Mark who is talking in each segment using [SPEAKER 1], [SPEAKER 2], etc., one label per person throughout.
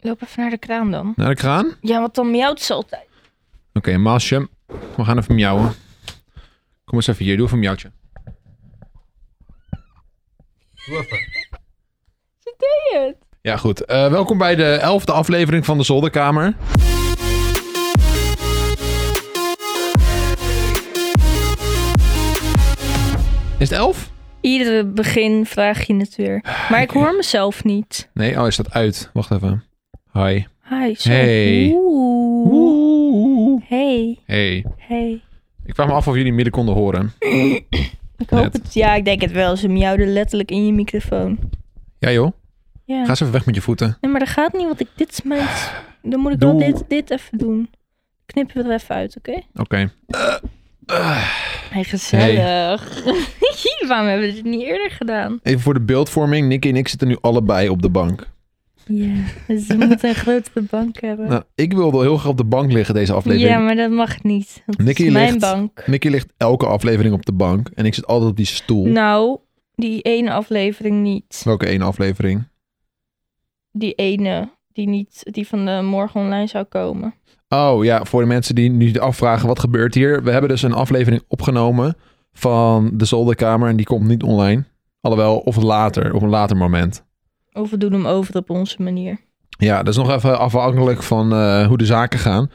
[SPEAKER 1] Loop even naar de kraan dan.
[SPEAKER 2] Naar de kraan? Oké,
[SPEAKER 1] Ja, want dan miauwt ze altijd.
[SPEAKER 2] Maasje. We gaan even miauwen. Kom eens even hier. Doe even een miauwtje. Doe even.
[SPEAKER 1] Ze deed het.
[SPEAKER 2] Ja, goed. Eh, welkom bij de elfde aflevering van de Zolderkamer. Is het elf?
[SPEAKER 1] Iedere begin vraag je het weer. Maar ik hoor mezelf niet.
[SPEAKER 2] Nee, oh, is dat uit? Wacht even. Hi.
[SPEAKER 1] Hi, zo.
[SPEAKER 2] Hey.
[SPEAKER 1] Oeh.
[SPEAKER 2] Oeh.
[SPEAKER 1] Hey,
[SPEAKER 2] Hey.
[SPEAKER 1] hey.
[SPEAKER 2] Ik vraag me af of jullie midden konden horen.
[SPEAKER 1] Ik hoop
[SPEAKER 2] Net.
[SPEAKER 1] het. Ja, ik denk het wel. Ze miauwde letterlijk in je microfoon.
[SPEAKER 2] Ja joh,
[SPEAKER 1] Ja.
[SPEAKER 2] ga eens even weg met je voeten.
[SPEAKER 1] Nee, maar dat gaat niet, want ik, dit is mijn... Dan moet ik
[SPEAKER 2] Doe.
[SPEAKER 1] wel dit, dit even doen. Knippen we er even uit, oké?
[SPEAKER 2] Oké.
[SPEAKER 1] Hey, gezellig. Waarom hebben we dit niet eerder gedaan?
[SPEAKER 2] Even voor de beeldvorming. Nicky en ik zitten nu allebei op de bank.
[SPEAKER 1] Ja, dus we moeten een grotere bank hebben.
[SPEAKER 2] Nou, ik wilde heel graag op de bank liggen deze aflevering.
[SPEAKER 1] Ja, maar dat mag niet. Dat
[SPEAKER 2] Nicky
[SPEAKER 1] is mijn
[SPEAKER 2] ligt-
[SPEAKER 1] bank.
[SPEAKER 2] Nicky ligt elke aflevering op de bank. En ik zit altijd op die stoel.
[SPEAKER 1] Nou, die ene aflevering niet.
[SPEAKER 2] Welke één aflevering?
[SPEAKER 1] Die ene die niet, die van de morgen online zou komen.
[SPEAKER 2] Oh ja, voor de mensen die nu afvragen wat gebeurt hier. We hebben dus een aflevering opgenomen van de zolderkamer en die komt niet online. Alhoewel, of later, op een later moment.
[SPEAKER 1] Of we doen hem over op onze manier.
[SPEAKER 2] Ja, dat is nog even afhankelijk van eh, hoe de zaken gaan.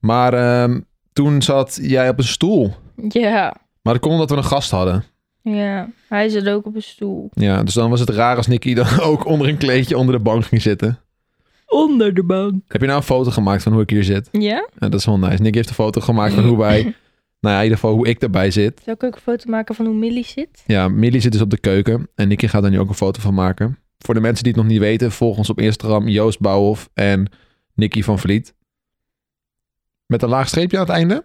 [SPEAKER 2] Maar ehm, toen zat jij op een stoel.
[SPEAKER 1] Ja,
[SPEAKER 2] Maar dat komt omdat we een gast hadden.
[SPEAKER 1] ja. Hij zit ook op een stoel.
[SPEAKER 2] Ja, dus dan was het raar als Nicky dan ook onder een kleedje onder de bank ging zitten.
[SPEAKER 1] Onder de bank.
[SPEAKER 2] Heb je nou een foto gemaakt van hoe ik hier zit?
[SPEAKER 1] Ja?
[SPEAKER 2] Ja, dat is wel nice. Nicky heeft een foto gemaakt van hoe wij, nou ja, in ieder geval hoe ik erbij zit.
[SPEAKER 1] Zou ik ook een foto maken van hoe Millie zit?
[SPEAKER 2] Ja, Millie zit dus op de keuken. En Nicky gaat daar nu ook een foto van maken. Voor de mensen die het nog niet weten, volg ons op Instagram Joost Bouwhof en Nicky van Vliet. Met een laag streepje aan het einde.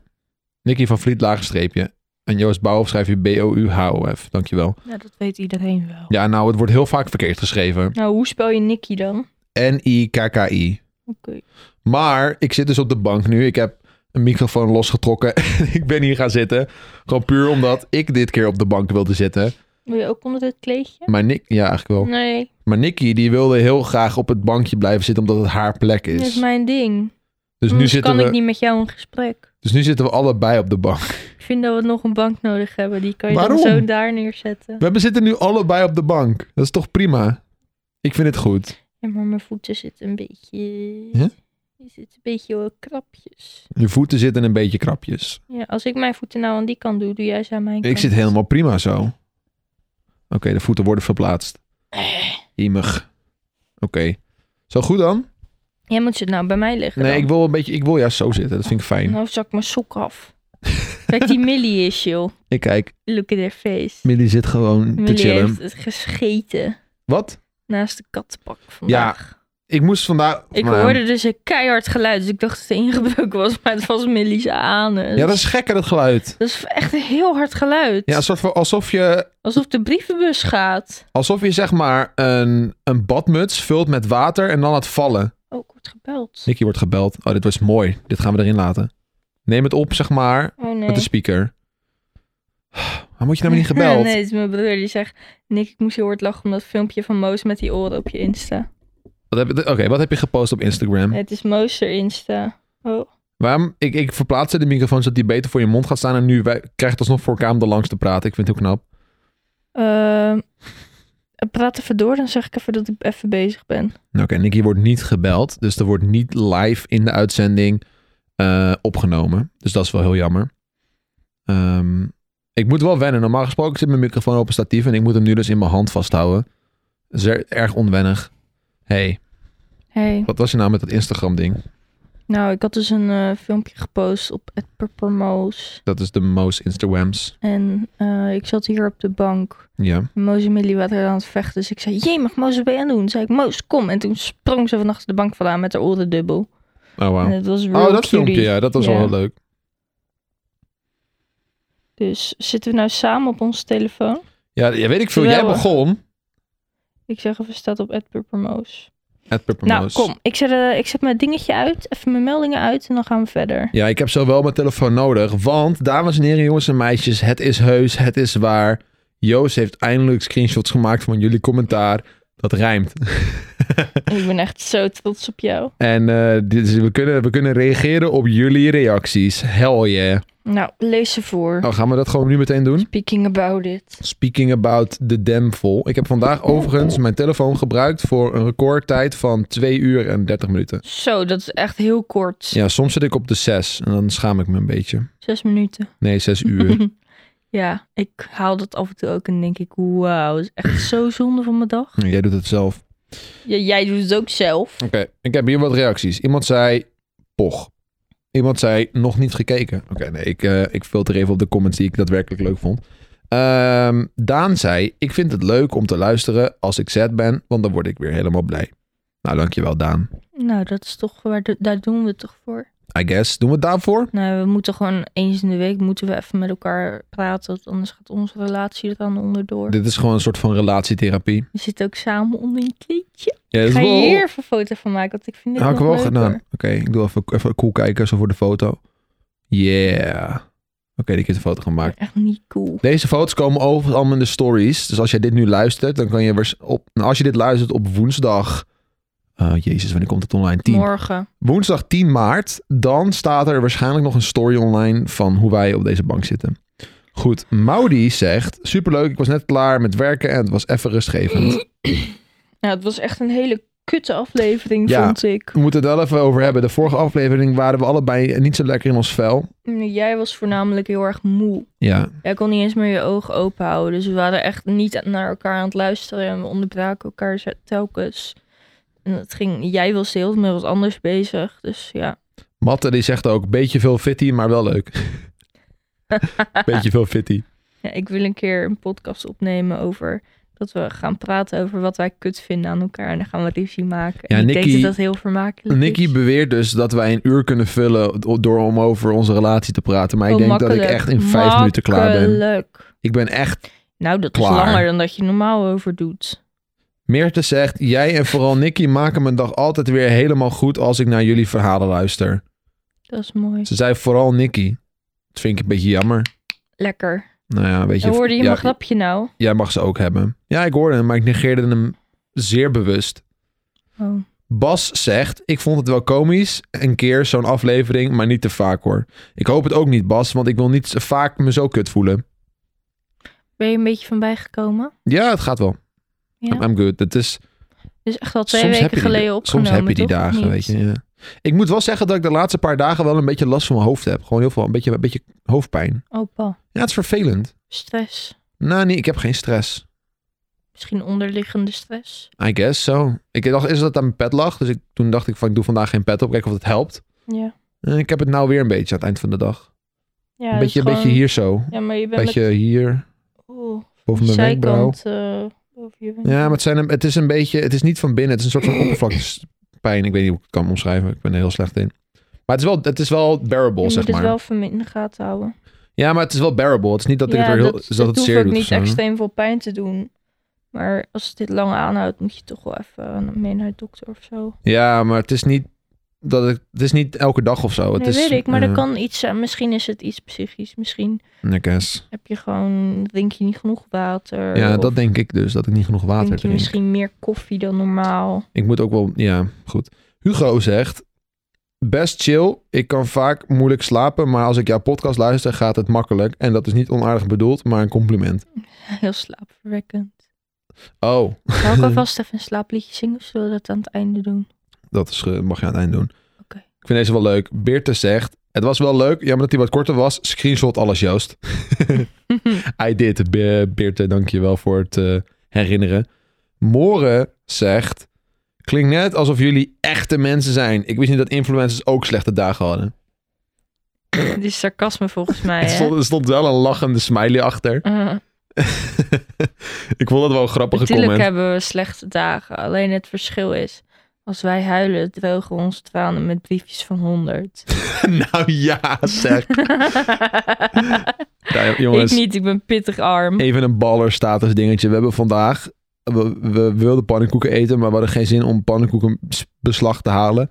[SPEAKER 2] Nicky van Vliet, laag streepje. En Joost Bouwhof schrijf je B-O-U-H-O-F. Dankjewel.
[SPEAKER 1] Nou, dat weet iedereen wel.
[SPEAKER 2] Ja, nou, het wordt heel vaak verkeerd geschreven.
[SPEAKER 1] Nou, hoe spel je Nicky dan?
[SPEAKER 2] N-I-K-K-I.
[SPEAKER 1] Oké.
[SPEAKER 2] Maar ik zit dus op de bank nu. Ik heb een microfoon losgetrokken en ik ben hier gaan zitten. Gewoon puur omdat ik dit keer op de bank wilde zitten.
[SPEAKER 1] Wil je ook onder dit kleedje?
[SPEAKER 2] Maar Nick... Ja, eigenlijk wel.
[SPEAKER 1] Nee,
[SPEAKER 2] Maar Nicky die wilde heel graag op het bankje blijven zitten omdat het haar plek
[SPEAKER 1] dat
[SPEAKER 2] is.
[SPEAKER 1] is mijn ding.
[SPEAKER 2] Dus nu,
[SPEAKER 1] Anders
[SPEAKER 2] zitten
[SPEAKER 1] kan
[SPEAKER 2] we,
[SPEAKER 1] ik niet met jou in gesprek.
[SPEAKER 2] dus nu zitten we allebei op de bank.
[SPEAKER 1] Ik vind dat we nog een bank nodig hebben. Die kan je
[SPEAKER 2] Waarom?
[SPEAKER 1] dan zo daar neerzetten.
[SPEAKER 2] We hebben- zitten nu allebei op de bank. Dat is toch prima? Ik vind het goed.
[SPEAKER 1] Ja, maar mijn voeten zitten een beetje...
[SPEAKER 2] Ja?
[SPEAKER 1] Die zitten een beetje eh, krapjes.
[SPEAKER 2] Je voeten zitten een beetje krapjes.
[SPEAKER 1] Ja, als ik mijn voeten nou aan die kant doe, doe jij ze aan mijn kant.
[SPEAKER 2] Ik zit helemaal prima zo. Oké, de voeten worden verplaatst.
[SPEAKER 1] Eh.
[SPEAKER 2] Iemig. Oké. Zo goed dan?
[SPEAKER 1] Jij moet ze nou bij mij leggen
[SPEAKER 2] Nee,
[SPEAKER 1] dan.
[SPEAKER 2] ik wil een beetje. Ik wil juist zo zitten. Dat vind ik fijn.
[SPEAKER 1] Nou zak ik mijn sok af. Kijk, die Millie is, joh.
[SPEAKER 2] Ik kijk.
[SPEAKER 1] Look at her face.
[SPEAKER 2] Millie zit gewoon te
[SPEAKER 1] Millie
[SPEAKER 2] chillen.
[SPEAKER 1] heeft het gescheten
[SPEAKER 2] Wat?
[SPEAKER 1] naast de kattenbak vandaag.
[SPEAKER 2] Ik moest vandaag.
[SPEAKER 1] Ik
[SPEAKER 2] Nou,
[SPEAKER 1] hoorde dus een keihard geluid, dus ik dacht dat het ingebroken was, maar het was Millie's anus.
[SPEAKER 2] Ja, dat is gekker dat geluid.
[SPEAKER 1] Dat is echt een heel hard geluid.
[SPEAKER 2] Ja, een soort van alsof je
[SPEAKER 1] Alsof de brievenbus gaat.
[SPEAKER 2] Alsof je zeg maar een, een badmuts vult met water en dan laat vallen.
[SPEAKER 1] Oh, ik word gebeld.
[SPEAKER 2] Nicky wordt gebeld. Oh, dit was mooi. Dit gaan we erin laten. Neem het op, zeg maar,
[SPEAKER 1] Oh nee.
[SPEAKER 2] met de speaker. Waarom moet je nou maar niet gebeld?
[SPEAKER 1] nee, het is mijn broer die zegt... Nick, ik moest heel hard lachen om dat filmpje van Moos met die oren op je Insta.
[SPEAKER 2] Wat heb- Oké, wat heb je gepost op Instagram?
[SPEAKER 1] Het is Moos er Insta. Oh,
[SPEAKER 2] Waarom? Ik, ik verplaatste de microfoon zodat die beter voor je mond gaat staan. En nu wij, krijg je alsnog voor elkaar om er langs te praten. Ik vind het heel knap.
[SPEAKER 1] ehm, praat even door, dan zeg ik even dat ik even bezig ben.
[SPEAKER 2] Nou, Oké, Nicky wordt niet gebeld. Dus er wordt niet live in de uitzending eh, opgenomen. Dus dat is wel heel jammer. Ehm, ik moet wel wennen. Normaal gesproken zit mijn microfoon op een statief en ik moet hem nu dus in mijn hand vasthouden. Dat is er- erg onwennig. hey,
[SPEAKER 1] Hey.
[SPEAKER 2] wat was je nou met dat Instagram-ding?
[SPEAKER 1] Nou, ik had dus een eh, filmpje gepost op @purpermoos
[SPEAKER 2] Dat is de most Instagrams.
[SPEAKER 1] En eh, ik zat hier op de bank.
[SPEAKER 2] Ja.
[SPEAKER 1] Moos en Millie waren aan het vechten. Dus ik zei, jee, mag Moos wat ben je aan het doen? Toen zei ik, Moos, kom. En toen sprong ze van achter de bank vandaan met haar oren dubbel.
[SPEAKER 2] Oh,
[SPEAKER 1] En
[SPEAKER 2] wow.
[SPEAKER 1] het was Eh, real
[SPEAKER 2] Oh, dat
[SPEAKER 1] cutie.
[SPEAKER 2] filmpje, ja. Dat was
[SPEAKER 1] Ja.
[SPEAKER 2] wel heel leuk.
[SPEAKER 1] Dus zitten we nou samen op onze telefoon?
[SPEAKER 2] Ja, ja, weet ik veel. Jij
[SPEAKER 1] Geweldig.
[SPEAKER 2] begon.
[SPEAKER 1] Ik zeg even, staat op @purpermoos.
[SPEAKER 2] At
[SPEAKER 1] Nou, kom. Ik zet, eh, ik zet mijn dingetje uit, even mijn meldingen uit en dan gaan we verder.
[SPEAKER 2] Ja, ik heb zo wel mijn telefoon nodig. Want, dames en heren, jongens en meisjes, het is heus, het is waar. Joost heeft eindelijk screenshots gemaakt van jullie commentaar. Dat rijmt.
[SPEAKER 1] Ik ben echt zo trots op jou.
[SPEAKER 2] En eh, dit is, we, kunnen, we kunnen reageren op jullie reacties. Hell yeah.
[SPEAKER 1] Nou, lees ze voor.
[SPEAKER 2] Nou, gaan we dat gewoon nu meteen doen?
[SPEAKER 1] Speaking about it.
[SPEAKER 2] Speaking about the damful. Ik heb vandaag overigens mijn telefoon gebruikt voor een recordtijd van 2 uur en 30 minuten.
[SPEAKER 1] Zo, dat is echt heel kort.
[SPEAKER 2] Ja, soms zit ik op de 6 en dan schaam ik me een beetje.
[SPEAKER 1] Zes minuten.
[SPEAKER 2] Nee, 6 uur.
[SPEAKER 1] ja, ik haal dat af en toe ook en denk ik, wauw, dat is echt zo zonde van mijn dag.
[SPEAKER 2] Jij doet het zelf.
[SPEAKER 1] Ja, jij doet het ook zelf.
[SPEAKER 2] Oké, ik heb hier wat reacties. Iemand zei, poch. Iemand zei, nog niet gekeken. Oké, nee, ik, eh ik filter even op de comments die ik daadwerkelijk leuk vond. Ehm, Daan zei, ik vind het leuk om te luisteren als ik zet ben, want dan word ik weer helemaal blij. Nou, dankjewel Daan.
[SPEAKER 1] Nou, dat is toch, waar, daar doen we het toch voor.
[SPEAKER 2] I guess, doen we het daarvoor?
[SPEAKER 1] Nou, we moeten gewoon eens in de week moeten we even met elkaar praten, want anders gaat onze relatie er dan onderdoor.
[SPEAKER 2] Dit is gewoon een soort van relatietherapie.
[SPEAKER 1] We zitten ook samen onder een kleedje.
[SPEAKER 2] Ja,
[SPEAKER 1] Ik
[SPEAKER 2] dat
[SPEAKER 1] ga
[SPEAKER 2] is wel-
[SPEAKER 1] hier even een foto van maken, want ik vind dit
[SPEAKER 2] Had ik
[SPEAKER 1] nog
[SPEAKER 2] wel
[SPEAKER 1] leuker.
[SPEAKER 2] gedaan. Oké, ik doe even, even cool kijken, zo voor de foto. Yeah. Oké, die heeft de foto gemaakt.
[SPEAKER 1] Echt niet cool.
[SPEAKER 2] Deze foto's komen overigens allemaal in de stories. Dus als jij dit nu luistert, dan kan je waars- op. nou, als je dit luistert op woensdag. eh, jezus, wanneer komt het online? 10.
[SPEAKER 1] Morgen.
[SPEAKER 2] Woensdag 10 maart. Dan staat er waarschijnlijk nog een story online van hoe wij op deze bank zitten. Goed, Maudi zegt: Superleuk, ik was net klaar met werken en het was even rustgevend.
[SPEAKER 1] Nou, het was echt een hele kutte aflevering,
[SPEAKER 2] Ja.
[SPEAKER 1] vond ik.
[SPEAKER 2] We moeten het wel even over hebben. De vorige aflevering waren we allebei niet zo lekker in ons vel.
[SPEAKER 1] Jij was voornamelijk heel erg moe.
[SPEAKER 2] Ja,
[SPEAKER 1] Jij kon niet eens meer je ogen open houden. Dus we waren echt niet naar elkaar aan het luisteren. En we onderbraken elkaar ze- telkens. En het ging, jij was heel met wat anders bezig. Dus ja.
[SPEAKER 2] Matte die zegt ook: Beetje veel fitty, maar wel leuk. Beetje veel fitty.
[SPEAKER 1] ja, ik wil een keer een podcast opnemen over... dat we gaan praten over wat wij kut vinden aan elkaar. En dan gaan we ruzie maken.
[SPEAKER 2] Ja,
[SPEAKER 1] en ik denk
[SPEAKER 2] Nikki-
[SPEAKER 1] dat dat heel vermakelijk
[SPEAKER 2] Nicky
[SPEAKER 1] is.
[SPEAKER 2] beweert dus dat wij een uur kunnen vullen door om over onze relatie te praten. Maar ik
[SPEAKER 1] Oh,
[SPEAKER 2] denk dat ik
[SPEAKER 1] makkelijk.
[SPEAKER 2] echt in vijf minuten klaar ben.
[SPEAKER 1] Makkelijk.
[SPEAKER 2] Ik ben echt...
[SPEAKER 1] Nou, dat is
[SPEAKER 2] Klaar.
[SPEAKER 1] langer dan dat je normaal over doet.
[SPEAKER 2] Meerte zegt, jij en vooral Nicky maken mijn dag altijd weer helemaal goed als ik naar jullie verhalen luister.
[SPEAKER 1] Dat is mooi.
[SPEAKER 2] Ze zei vooral Nicky. Dat vind ik een beetje jammer.
[SPEAKER 1] Lekker.
[SPEAKER 2] Nou ja, weet je...
[SPEAKER 1] Dan hoorde je
[SPEAKER 2] ja,
[SPEAKER 1] mijn grapje nou.
[SPEAKER 2] Jij mag ze ook hebben. Ja, ik hoorde hem, maar ik negeerde hem zeer bewust.
[SPEAKER 1] Oh.
[SPEAKER 2] Bas zegt, ik vond het wel komisch, een keer zo'n aflevering, maar niet te vaak hoor. Ik hoop het ook niet Bas, want ik wil niet zo vaak me zo kut voelen.
[SPEAKER 1] Ben je een beetje van bijgekomen?
[SPEAKER 2] Ja, het gaat wel.
[SPEAKER 1] Ja.
[SPEAKER 2] I'm good. Het is,
[SPEAKER 1] Dus echt al twee
[SPEAKER 2] soms heb
[SPEAKER 1] weken
[SPEAKER 2] je die,
[SPEAKER 1] geleden opgenomen.
[SPEAKER 2] soms heb je die
[SPEAKER 1] toch? Of
[SPEAKER 2] dagen,
[SPEAKER 1] niet?
[SPEAKER 2] weet je. Ja. Ik moet wel zeggen dat ik de laatste paar dagen wel een beetje last van mijn hoofd heb. Gewoon heel veel, een beetje, een beetje hoofdpijn.
[SPEAKER 1] Opa,
[SPEAKER 2] Ja, het is vervelend.
[SPEAKER 1] Oh, stress.
[SPEAKER 2] Nou nee, ik heb geen stress.
[SPEAKER 1] Misschien onderliggende stress.
[SPEAKER 2] I guess so. Ik dacht eerst dat het aan mijn pet lag. Dus ik, toen dacht ik van, ik doe vandaag geen pet op. Kijken of het helpt.
[SPEAKER 1] Ja.
[SPEAKER 2] En ik heb het nou weer een beetje aan het eind van de dag.
[SPEAKER 1] ja
[SPEAKER 2] een
[SPEAKER 1] dat
[SPEAKER 2] beetje,
[SPEAKER 1] is
[SPEAKER 2] een
[SPEAKER 1] gewoon-
[SPEAKER 2] beetje hier zo.
[SPEAKER 1] Ja, maar je bent
[SPEAKER 2] Een beetje
[SPEAKER 1] met
[SPEAKER 2] hier,
[SPEAKER 1] oh,
[SPEAKER 2] boven
[SPEAKER 1] de
[SPEAKER 2] mijn wenkbrauw.
[SPEAKER 1] zijkant eh boven je
[SPEAKER 2] Ja, maar het, zijn, een- het is een beetje, het is niet van binnen. Het is een soort van oppervlaktespijn. Ik weet niet hoe ik het kan omschrijven. Ik ben er heel slecht in. Maar het is wel, het is wel bearable,
[SPEAKER 1] Je
[SPEAKER 2] zeg
[SPEAKER 1] moet Mm, het
[SPEAKER 2] maar.
[SPEAKER 1] wel even in de gaten houden.
[SPEAKER 2] Ja, maar het is wel bearable. Het is niet dat ik
[SPEAKER 1] ja,
[SPEAKER 2] het er heel,
[SPEAKER 1] dat,
[SPEAKER 2] is dat het
[SPEAKER 1] hoeft
[SPEAKER 2] zeer
[SPEAKER 1] ook
[SPEAKER 2] doet. of
[SPEAKER 1] niet
[SPEAKER 2] zo.
[SPEAKER 1] extreem veel pijn te doen. Maar als het dit lang aanhoudt, moet je toch wel even mee naar de dokter of zo.
[SPEAKER 2] Ja, maar het is niet dat ik, het is niet elke dag of zo. Het
[SPEAKER 1] nee,
[SPEAKER 2] is,
[SPEAKER 1] weet ik. Maar
[SPEAKER 2] eh,
[SPEAKER 1] dat kan iets zijn. Misschien is het iets psychisch. Misschien
[SPEAKER 2] I guess.
[SPEAKER 1] heb je gewoon, drink je niet genoeg water.
[SPEAKER 2] Ja,
[SPEAKER 1] of
[SPEAKER 2] dat denk ik dus. Dat ik niet genoeg water
[SPEAKER 1] drink Oh. je
[SPEAKER 2] drink.
[SPEAKER 1] misschien meer koffie dan normaal.
[SPEAKER 2] Ik moet ook wel... Ja, goed. Hugo zegt... Best chill. Ik kan vaak moeilijk slapen. Maar als ik jouw podcast luister, gaat het makkelijk. En dat is niet onaardig bedoeld, maar een compliment.
[SPEAKER 1] Heel slaapverwekkend.
[SPEAKER 2] Oh,
[SPEAKER 1] Zal ik alvast even een slaapliedje zingen of zullen we dat aan het einde doen?
[SPEAKER 2] Dat is, eh, mag je aan het eind doen.
[SPEAKER 1] Oké.
[SPEAKER 2] Ik vind deze wel leuk. Beerte zegt... Het was wel leuk, jammer dat hij wat korter was. Screenshot alles, Joost. I did. Be Beerte, dank je wel voor het eh, herinneren. Moren zegt... Klinkt net alsof jullie echte mensen zijn. Ik wist niet dat influencers ook slechte dagen hadden.
[SPEAKER 1] Dit is sarcasme volgens mij.
[SPEAKER 2] Er
[SPEAKER 1] hè?
[SPEAKER 2] stond, er stond wel een lachende smiley achter.
[SPEAKER 1] Eh,
[SPEAKER 2] ik vond het wel een grappige
[SPEAKER 1] Natuurlijk
[SPEAKER 2] comment.
[SPEAKER 1] hebben we slechte dagen. Alleen het verschil is, als wij huilen, drogen we onze tranen met briefjes van 100.
[SPEAKER 2] nou ja, zeg. Ja, jongens.
[SPEAKER 1] ik niet, ik ben pittig arm.
[SPEAKER 2] Even een ballerstatus dingetje. We hebben vandaag... We, we wilden pannenkoeken eten, maar we hadden geen zin om pannenkoeken s- beslag te halen.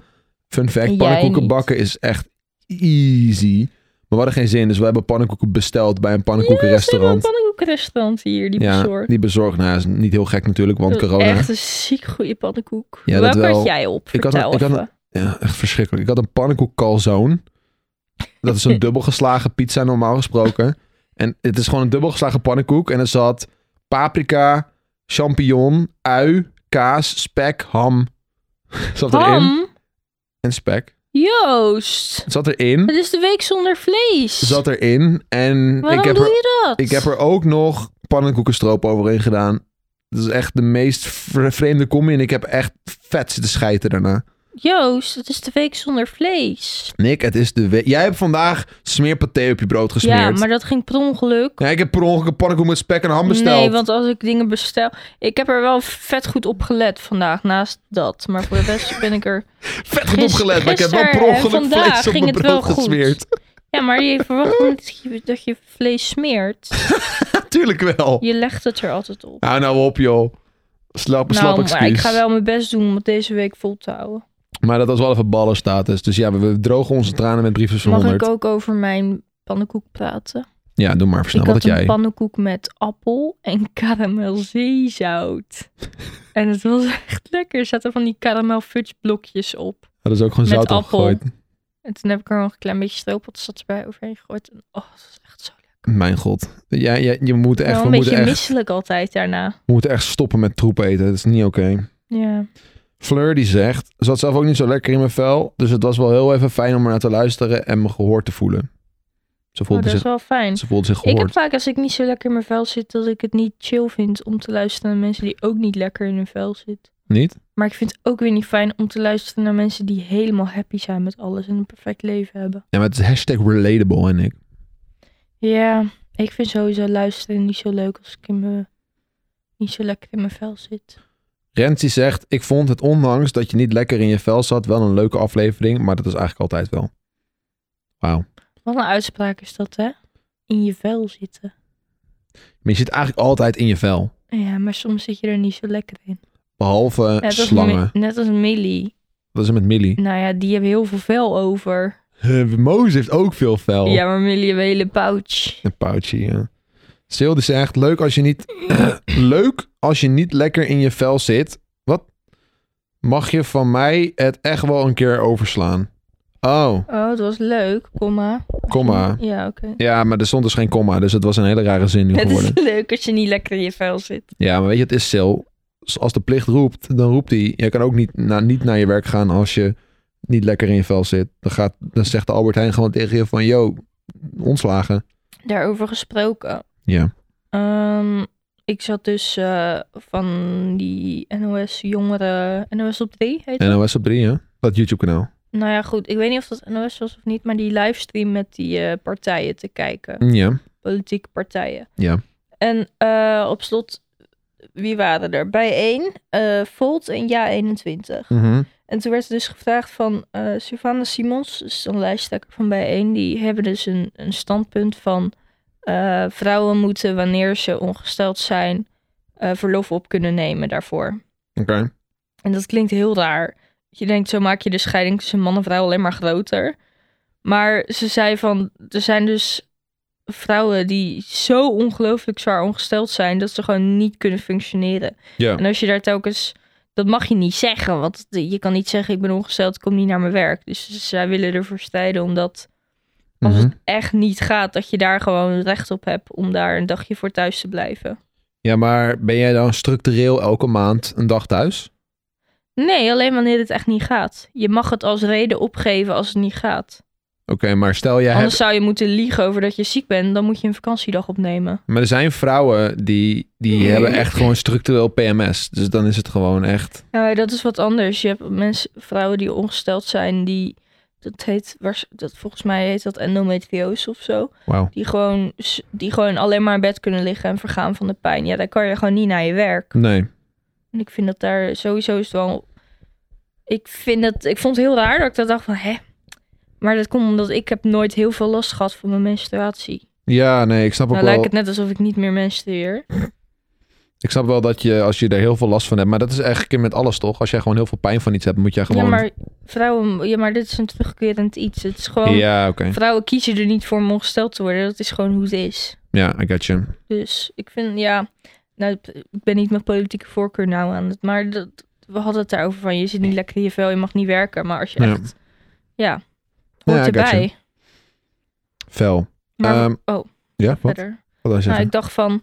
[SPEAKER 2] Fun fact,
[SPEAKER 1] Jij
[SPEAKER 2] pannenkoeken
[SPEAKER 1] niet.
[SPEAKER 2] bakken is echt easy. we hadden geen zin, dus we hebben pannenkoeken besteld bij een pannenkoekenrestaurant.
[SPEAKER 1] Ze hebben een pannenkoekenrestaurant hier, die bezorgd.
[SPEAKER 2] die bezorgd. Nou, is niet heel gek natuurlijk, want
[SPEAKER 1] Dat was
[SPEAKER 2] corona.
[SPEAKER 1] Echt een ziek goede pannenkoek.
[SPEAKER 2] Ja, dat
[SPEAKER 1] Welke
[SPEAKER 2] wel.
[SPEAKER 1] had jij op?
[SPEAKER 2] Ik had een-
[SPEAKER 1] Vertel
[SPEAKER 2] ik had een-
[SPEAKER 1] even.
[SPEAKER 2] Ja, echt verschrikkelijk. Ik had een pannenkoek calzone. Dat is een dubbelgeslagen pizza normaal gesproken. En het is gewoon een dubbelgeslagen pannenkoek. En er zat paprika, champignon, ui, kaas, spek, ham. Zat erin.
[SPEAKER 1] Ham?
[SPEAKER 2] En spek.
[SPEAKER 1] Joost.
[SPEAKER 2] Zat erin.
[SPEAKER 1] Het is de week zonder vlees.
[SPEAKER 2] Zat erin. En
[SPEAKER 1] Waarom
[SPEAKER 2] ik heb,
[SPEAKER 1] doe
[SPEAKER 2] er,
[SPEAKER 1] je dat?
[SPEAKER 2] ik heb er ook nog pannenkoekenstroop overheen gedaan. Dat is echt de meest vre- vreemde combi. En ik heb echt vet zitten schijten daarna.
[SPEAKER 1] Joost, het is de week zonder vlees.
[SPEAKER 2] Nick, het is de we- Jij hebt vandaag smeerpaté op je brood gesmeerd.
[SPEAKER 1] Ja, maar dat ging per ongeluk.
[SPEAKER 2] Ja, ik heb per ongeluk een pannenkoek met spek en ham besteld.
[SPEAKER 1] Nee, want als ik dingen bestel... Ik heb er wel vet goed op gelet vandaag, naast dat. Maar voor de rest ben ik er...
[SPEAKER 2] Vet goed
[SPEAKER 1] gis-
[SPEAKER 2] opgelet, maar ik heb wel
[SPEAKER 1] gisteren
[SPEAKER 2] per
[SPEAKER 1] en
[SPEAKER 2] ongeluk
[SPEAKER 1] vandaag
[SPEAKER 2] vlees op
[SPEAKER 1] ging
[SPEAKER 2] mijn
[SPEAKER 1] het wel
[SPEAKER 2] brood
[SPEAKER 1] goed.
[SPEAKER 2] gesmeerd.
[SPEAKER 1] Ja, maar je verwacht niet dat je- dat je vlees smeert.
[SPEAKER 2] Natuurlijk wel.
[SPEAKER 1] Je legt het er altijd op.
[SPEAKER 2] Nou, nou op joh. Slap, slap
[SPEAKER 1] nou, maar ik
[SPEAKER 2] excuus.
[SPEAKER 1] ga wel mijn best doen om het deze week vol te houden.
[SPEAKER 2] Maar dat was wel even ballenstatus. Dus ja, we, we drogen onze tranen met briefjes van
[SPEAKER 1] Mag
[SPEAKER 2] 100.
[SPEAKER 1] ik ook over mijn pannenkoek praten?
[SPEAKER 2] Ja, doe maar versnel.
[SPEAKER 1] ik
[SPEAKER 2] Wat had
[SPEAKER 1] had een
[SPEAKER 2] jij?
[SPEAKER 1] pannenkoek met appel en karamelzeezout. en het was echt lekker. Er zaten van die karamel fudge blokjes op.
[SPEAKER 2] Dat is ook gewoon
[SPEAKER 1] met
[SPEAKER 2] zout
[SPEAKER 1] appel.
[SPEAKER 2] opgegooid. bij
[SPEAKER 1] En toen heb ik er nog een klein beetje stroopwafels erbij overheen gegooid. En oh, dat was echt zo lekker.
[SPEAKER 2] Mijn god. Ja, ja, je moet
[SPEAKER 1] Ik ben
[SPEAKER 2] echt,
[SPEAKER 1] wel
[SPEAKER 2] we
[SPEAKER 1] een
[SPEAKER 2] moeten
[SPEAKER 1] beetje
[SPEAKER 2] echt,
[SPEAKER 1] misselijk altijd daarna.
[SPEAKER 2] we moeten echt stoppen met troep eten. Dat is niet oké.
[SPEAKER 1] Ja.
[SPEAKER 2] Fleur die zegt, zat zelf ook niet zo lekker in mijn vel. Dus het was wel heel even fijn om er naar te luisteren en me gehoord te voelen. Ze
[SPEAKER 1] Oh,
[SPEAKER 2] voelde,
[SPEAKER 1] dat is
[SPEAKER 2] zich,
[SPEAKER 1] wel fijn.
[SPEAKER 2] ze voelde zich
[SPEAKER 1] Ik heb
[SPEAKER 2] dus gehoord.
[SPEAKER 1] vaak, als ik niet zo lekker in mijn vel zit, dat ik het niet chill vind om te luisteren naar mensen die ook niet lekker in hun vel zitten.
[SPEAKER 2] Niet?
[SPEAKER 1] Maar ik vind het ook weer niet fijn om te luisteren naar mensen die helemaal happy zijn met alles en een perfect leven hebben.
[SPEAKER 2] Ja, maar het is hashtag relatable en ik.
[SPEAKER 1] Ja, ik vind sowieso luisteren niet zo leuk als ik in mijn, niet zo lekker in mijn vel zit.
[SPEAKER 2] Rens die zegt, ik vond het ondanks dat je niet lekker in je vel zat wel een leuke aflevering. Maar dat is eigenlijk altijd wel. Wauw.
[SPEAKER 1] Wat een uitspraak is dat, hè? In je vel zitten.
[SPEAKER 2] Maar je zit eigenlijk altijd in je vel.
[SPEAKER 1] Ja, maar soms zit je er niet zo lekker in.
[SPEAKER 2] Behalve
[SPEAKER 1] Net als,
[SPEAKER 2] slangen.
[SPEAKER 1] Mi- net als Millie.
[SPEAKER 2] Dat is het met Millie.
[SPEAKER 1] Nou ja, die hebben heel veel vel over.
[SPEAKER 2] Moos Mozes heeft ook veel vel.
[SPEAKER 1] Ja, maar Millie heeft een hele pouch.
[SPEAKER 2] Een pouchie, ja. Sil die zegt, leuk als je niet... leuk als je niet lekker in je vel zit. Wat? Mag je van mij het echt wel een keer overslaan? Oh,
[SPEAKER 1] Oh, dat was leuk, komma.
[SPEAKER 2] komma.
[SPEAKER 1] Ja, oké.
[SPEAKER 2] Ja, maar er stond dus geen komma, dus het was een hele rare zin nu
[SPEAKER 1] Het is
[SPEAKER 2] geworden.
[SPEAKER 1] leuk als je niet lekker in je vel zit.
[SPEAKER 2] Ja, maar weet je, het is Sil. Als de plicht roept, dan roept hij. Je kan ook niet, na, niet naar je werk gaan als je niet lekker in je vel zit. Dan, gaat, dan zegt de Albert Heijn gewoon tegen je van, yo, ontslagen.
[SPEAKER 1] Daarover gesproken.
[SPEAKER 2] Ja.
[SPEAKER 1] Ehm, ik zat dus eh, van die NOS jongeren... NOS op 3 heet dat?
[SPEAKER 2] NOS op 3, hè? Dat YouTube-kanaal.
[SPEAKER 1] Nou ja, goed. Ik weet niet of dat NOS was of niet, maar die livestream met die eh, partijen te kijken.
[SPEAKER 2] Mm, Ja.
[SPEAKER 1] Politieke partijen.
[SPEAKER 2] Ja.
[SPEAKER 1] En eh, op slot, wie waren er? Bijeen, eh Volt en Ja21.
[SPEAKER 2] Mhm.
[SPEAKER 1] En toen werd er dus gevraagd van eh Sylvana Simons, dus een lijsttrekker van bijeen, die hebben dus een, een standpunt van eh, vrouwen moeten wanneer ze ongesteld zijn eh, verlof op kunnen nemen daarvoor.
[SPEAKER 2] Oké.
[SPEAKER 1] En dat klinkt heel raar. Je denkt, zo maak je de scheiding tussen man en vrouw alleen maar groter. Maar ze zei van, er zijn dus vrouwen die zo ongelooflijk zwaar ongesteld zijn dat ze gewoon niet kunnen functioneren.
[SPEAKER 2] Ja.
[SPEAKER 1] En als je daar telkens, dat mag je niet zeggen, want je kan niet zeggen ik ben ongesteld, ik kom niet naar mijn werk. Dus zij willen ervoor strijden omdat als
[SPEAKER 2] Mhm.
[SPEAKER 1] het echt niet gaat, dat je daar gewoon recht op hebt om daar een dagje voor thuis te blijven.
[SPEAKER 2] Ja, maar ben jij dan structureel elke maand een dag thuis?
[SPEAKER 1] Nee, alleen wanneer het echt niet gaat. Je mag het als reden opgeven als het niet gaat.
[SPEAKER 2] Oké, maar stel jij hebt...
[SPEAKER 1] Anders zou je moeten liegen over dat je ziek bent. Dan moet je een vakantiedag opnemen.
[SPEAKER 2] Maar er zijn vrouwen die, die hebben echt gewoon structureel PMS. Dus dan is het gewoon echt...
[SPEAKER 1] Nou, dat is wat anders. Je hebt mensen, vrouwen die ongesteld zijn, die. Dat heet, waars- dat, volgens mij heet dat endometriose of zo.
[SPEAKER 2] Wauw.
[SPEAKER 1] Die gewoon, s- die gewoon alleen maar in bed kunnen liggen en vergaan van de pijn. Ja, dan kan je gewoon niet naar je werk.
[SPEAKER 2] Nee.
[SPEAKER 1] En ik vind dat daar sowieso is het wel. Ik vind dat. Ik vond het heel raar dat ik dat dacht van hè. Maar dat komt omdat ik heb nooit heel veel last gehad van mijn menstruatie.
[SPEAKER 2] Ja, nee, ik snap ook
[SPEAKER 1] Nou
[SPEAKER 2] wel...
[SPEAKER 1] lijkt het net alsof ik niet meer menstrueer.
[SPEAKER 2] Ik snap wel dat je, als je er heel veel last van hebt, maar dat is eigenlijk met alles toch? Als jij gewoon heel veel pijn van iets hebt, moet jij gewoon.
[SPEAKER 1] Ja, maar vrouwen, ja, maar dit is een terugkerend iets. Het is gewoon,
[SPEAKER 2] Ja, oké.
[SPEAKER 1] vrouwen kiezen er niet voor om ongesteld te worden. Dat is gewoon hoe het is.
[SPEAKER 2] Ja, I get you.
[SPEAKER 1] Dus ik vind, ja, nou, ik ben niet mijn politieke voorkeur nou aan het, maar dat, we hadden het daarover van, je zit niet lekker in je vel, je mag niet werken. Maar als je
[SPEAKER 2] Ja.
[SPEAKER 1] echt, ja,
[SPEAKER 2] Ja,
[SPEAKER 1] hoort
[SPEAKER 2] I got you.
[SPEAKER 1] erbij.
[SPEAKER 2] Fel.
[SPEAKER 1] Maar,
[SPEAKER 2] Ehm,
[SPEAKER 1] oh,
[SPEAKER 2] Ja, wat?
[SPEAKER 1] verder.
[SPEAKER 2] Wat wil je
[SPEAKER 1] Nou,
[SPEAKER 2] zeggen?
[SPEAKER 1] ik dacht van,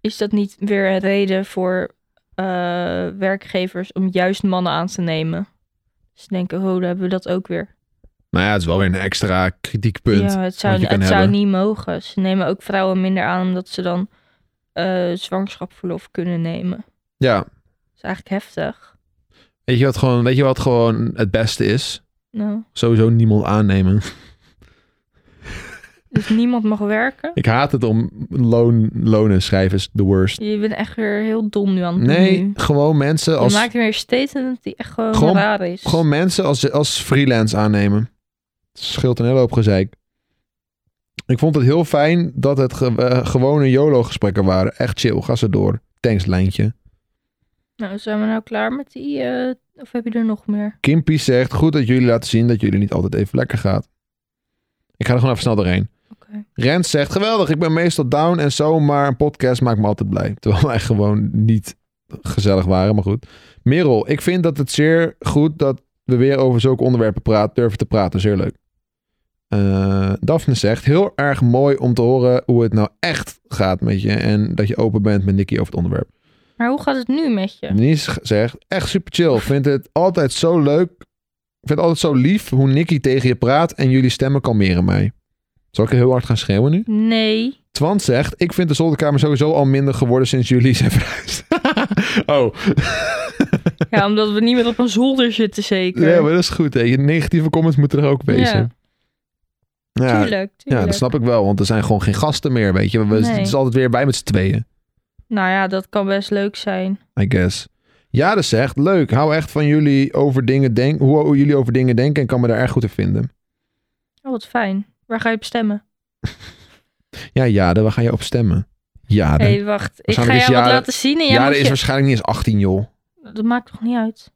[SPEAKER 1] is dat niet weer een reden voor eh, werkgevers om juist mannen aan te nemen? Ze denken, oh, dan hebben we dat ook weer.
[SPEAKER 2] Nou ja, het is wel weer een extra kritiekpunt.
[SPEAKER 1] Ja, het zou,
[SPEAKER 2] wat je kan
[SPEAKER 1] het zou
[SPEAKER 2] hebben.
[SPEAKER 1] niet mogen. Ze nemen ook vrouwen minder aan omdat ze dan eh zwangerschapsverlof kunnen nemen.
[SPEAKER 2] ja.
[SPEAKER 1] Dat is eigenlijk heftig.
[SPEAKER 2] Weet je, wat gewoon, weet je wat gewoon het beste is?
[SPEAKER 1] Nou,
[SPEAKER 2] Sowieso niemand aannemen.
[SPEAKER 1] dus niemand mag werken.
[SPEAKER 2] Ik haat het om loon, lonen schrijven is the worst.
[SPEAKER 1] Je bent echt weer heel dom nu aan het doen
[SPEAKER 2] Nee,
[SPEAKER 1] nu.
[SPEAKER 2] gewoon mensen
[SPEAKER 1] Mm-hmm. Je
[SPEAKER 2] als,
[SPEAKER 1] maakt weer een statement die echt gewoon,
[SPEAKER 2] Gewoon-
[SPEAKER 1] raar is.
[SPEAKER 2] gewoon mensen als, als freelance aannemen. Het scheelt een hele hoop gezeik. Ik vond het heel fijn dat het ge- eh, gewone YOLO-gesprekken waren. Echt chill, ga ze door. Thanks, lijntje.
[SPEAKER 1] Nou, zijn we nou klaar met die? eh, of heb je er nog meer?
[SPEAKER 2] Kimpy zegt, goed dat jullie laten zien dat jullie niet altijd even lekker gaat. Ik ga er gewoon even snel doorheen.
[SPEAKER 1] Oké.
[SPEAKER 2] Rens zegt, geweldig, ik ben meestal down en zo, maar een podcast maakt me altijd blij. Terwijl wij gewoon niet gezellig waren, maar goed. Merel, ik vind dat het zeer goed dat we weer over zulke onderwerpen praat, durven te praten. Zeer leuk. Eh Daphne zegt, heel erg mooi om te horen hoe het nou echt gaat met je. En dat je open bent met Nicky over het onderwerp.
[SPEAKER 1] Maar hoe gaat het nu met je?
[SPEAKER 2] Denise zegt, echt super chill. Vind het altijd zo leuk. Ik vind het altijd zo lief hoe Nicky tegen je praat en jullie stemmen kalmeren mij. Zal ik heel hard gaan schreeuwen nu?
[SPEAKER 1] Nee.
[SPEAKER 2] Twan zegt, ik vind de zolderkamer sowieso al minder geworden sinds jullie zijn verhuisd. oh,
[SPEAKER 1] Ja, omdat we niet meer op een zolder zitten zeker.
[SPEAKER 2] ja, maar dat is goed. Hè. Je negatieve comments moeten er ook wezen. Ja,
[SPEAKER 1] tuurlijk,
[SPEAKER 2] ja,
[SPEAKER 1] tuurlijk.
[SPEAKER 2] dat snap ik wel, want er zijn gewoon geen gasten meer, weet je. We,
[SPEAKER 1] Nee.
[SPEAKER 2] Het is altijd weer bij met z'n tweeën.
[SPEAKER 1] Nou ja, dat kan best leuk zijn.
[SPEAKER 2] I guess. Jade zegt, leuk, hou echt van jullie over dingen denken, hoe, hoe jullie over dingen denken en kan me daar erg goed in vinden.
[SPEAKER 1] Oh, wat fijn. Waar ga je op stemmen?
[SPEAKER 2] Ja, Jade, waar ga je op stemmen? Jade.
[SPEAKER 1] Hé, hey, wacht. Ik ga
[SPEAKER 2] Waarschijnlijk
[SPEAKER 1] jou wat
[SPEAKER 2] is dus Jaren-
[SPEAKER 1] laten zien en jij
[SPEAKER 2] Jade
[SPEAKER 1] moet
[SPEAKER 2] is
[SPEAKER 1] je-
[SPEAKER 2] waarschijnlijk niet eens 18, joh.
[SPEAKER 1] Dat maakt toch niet uit?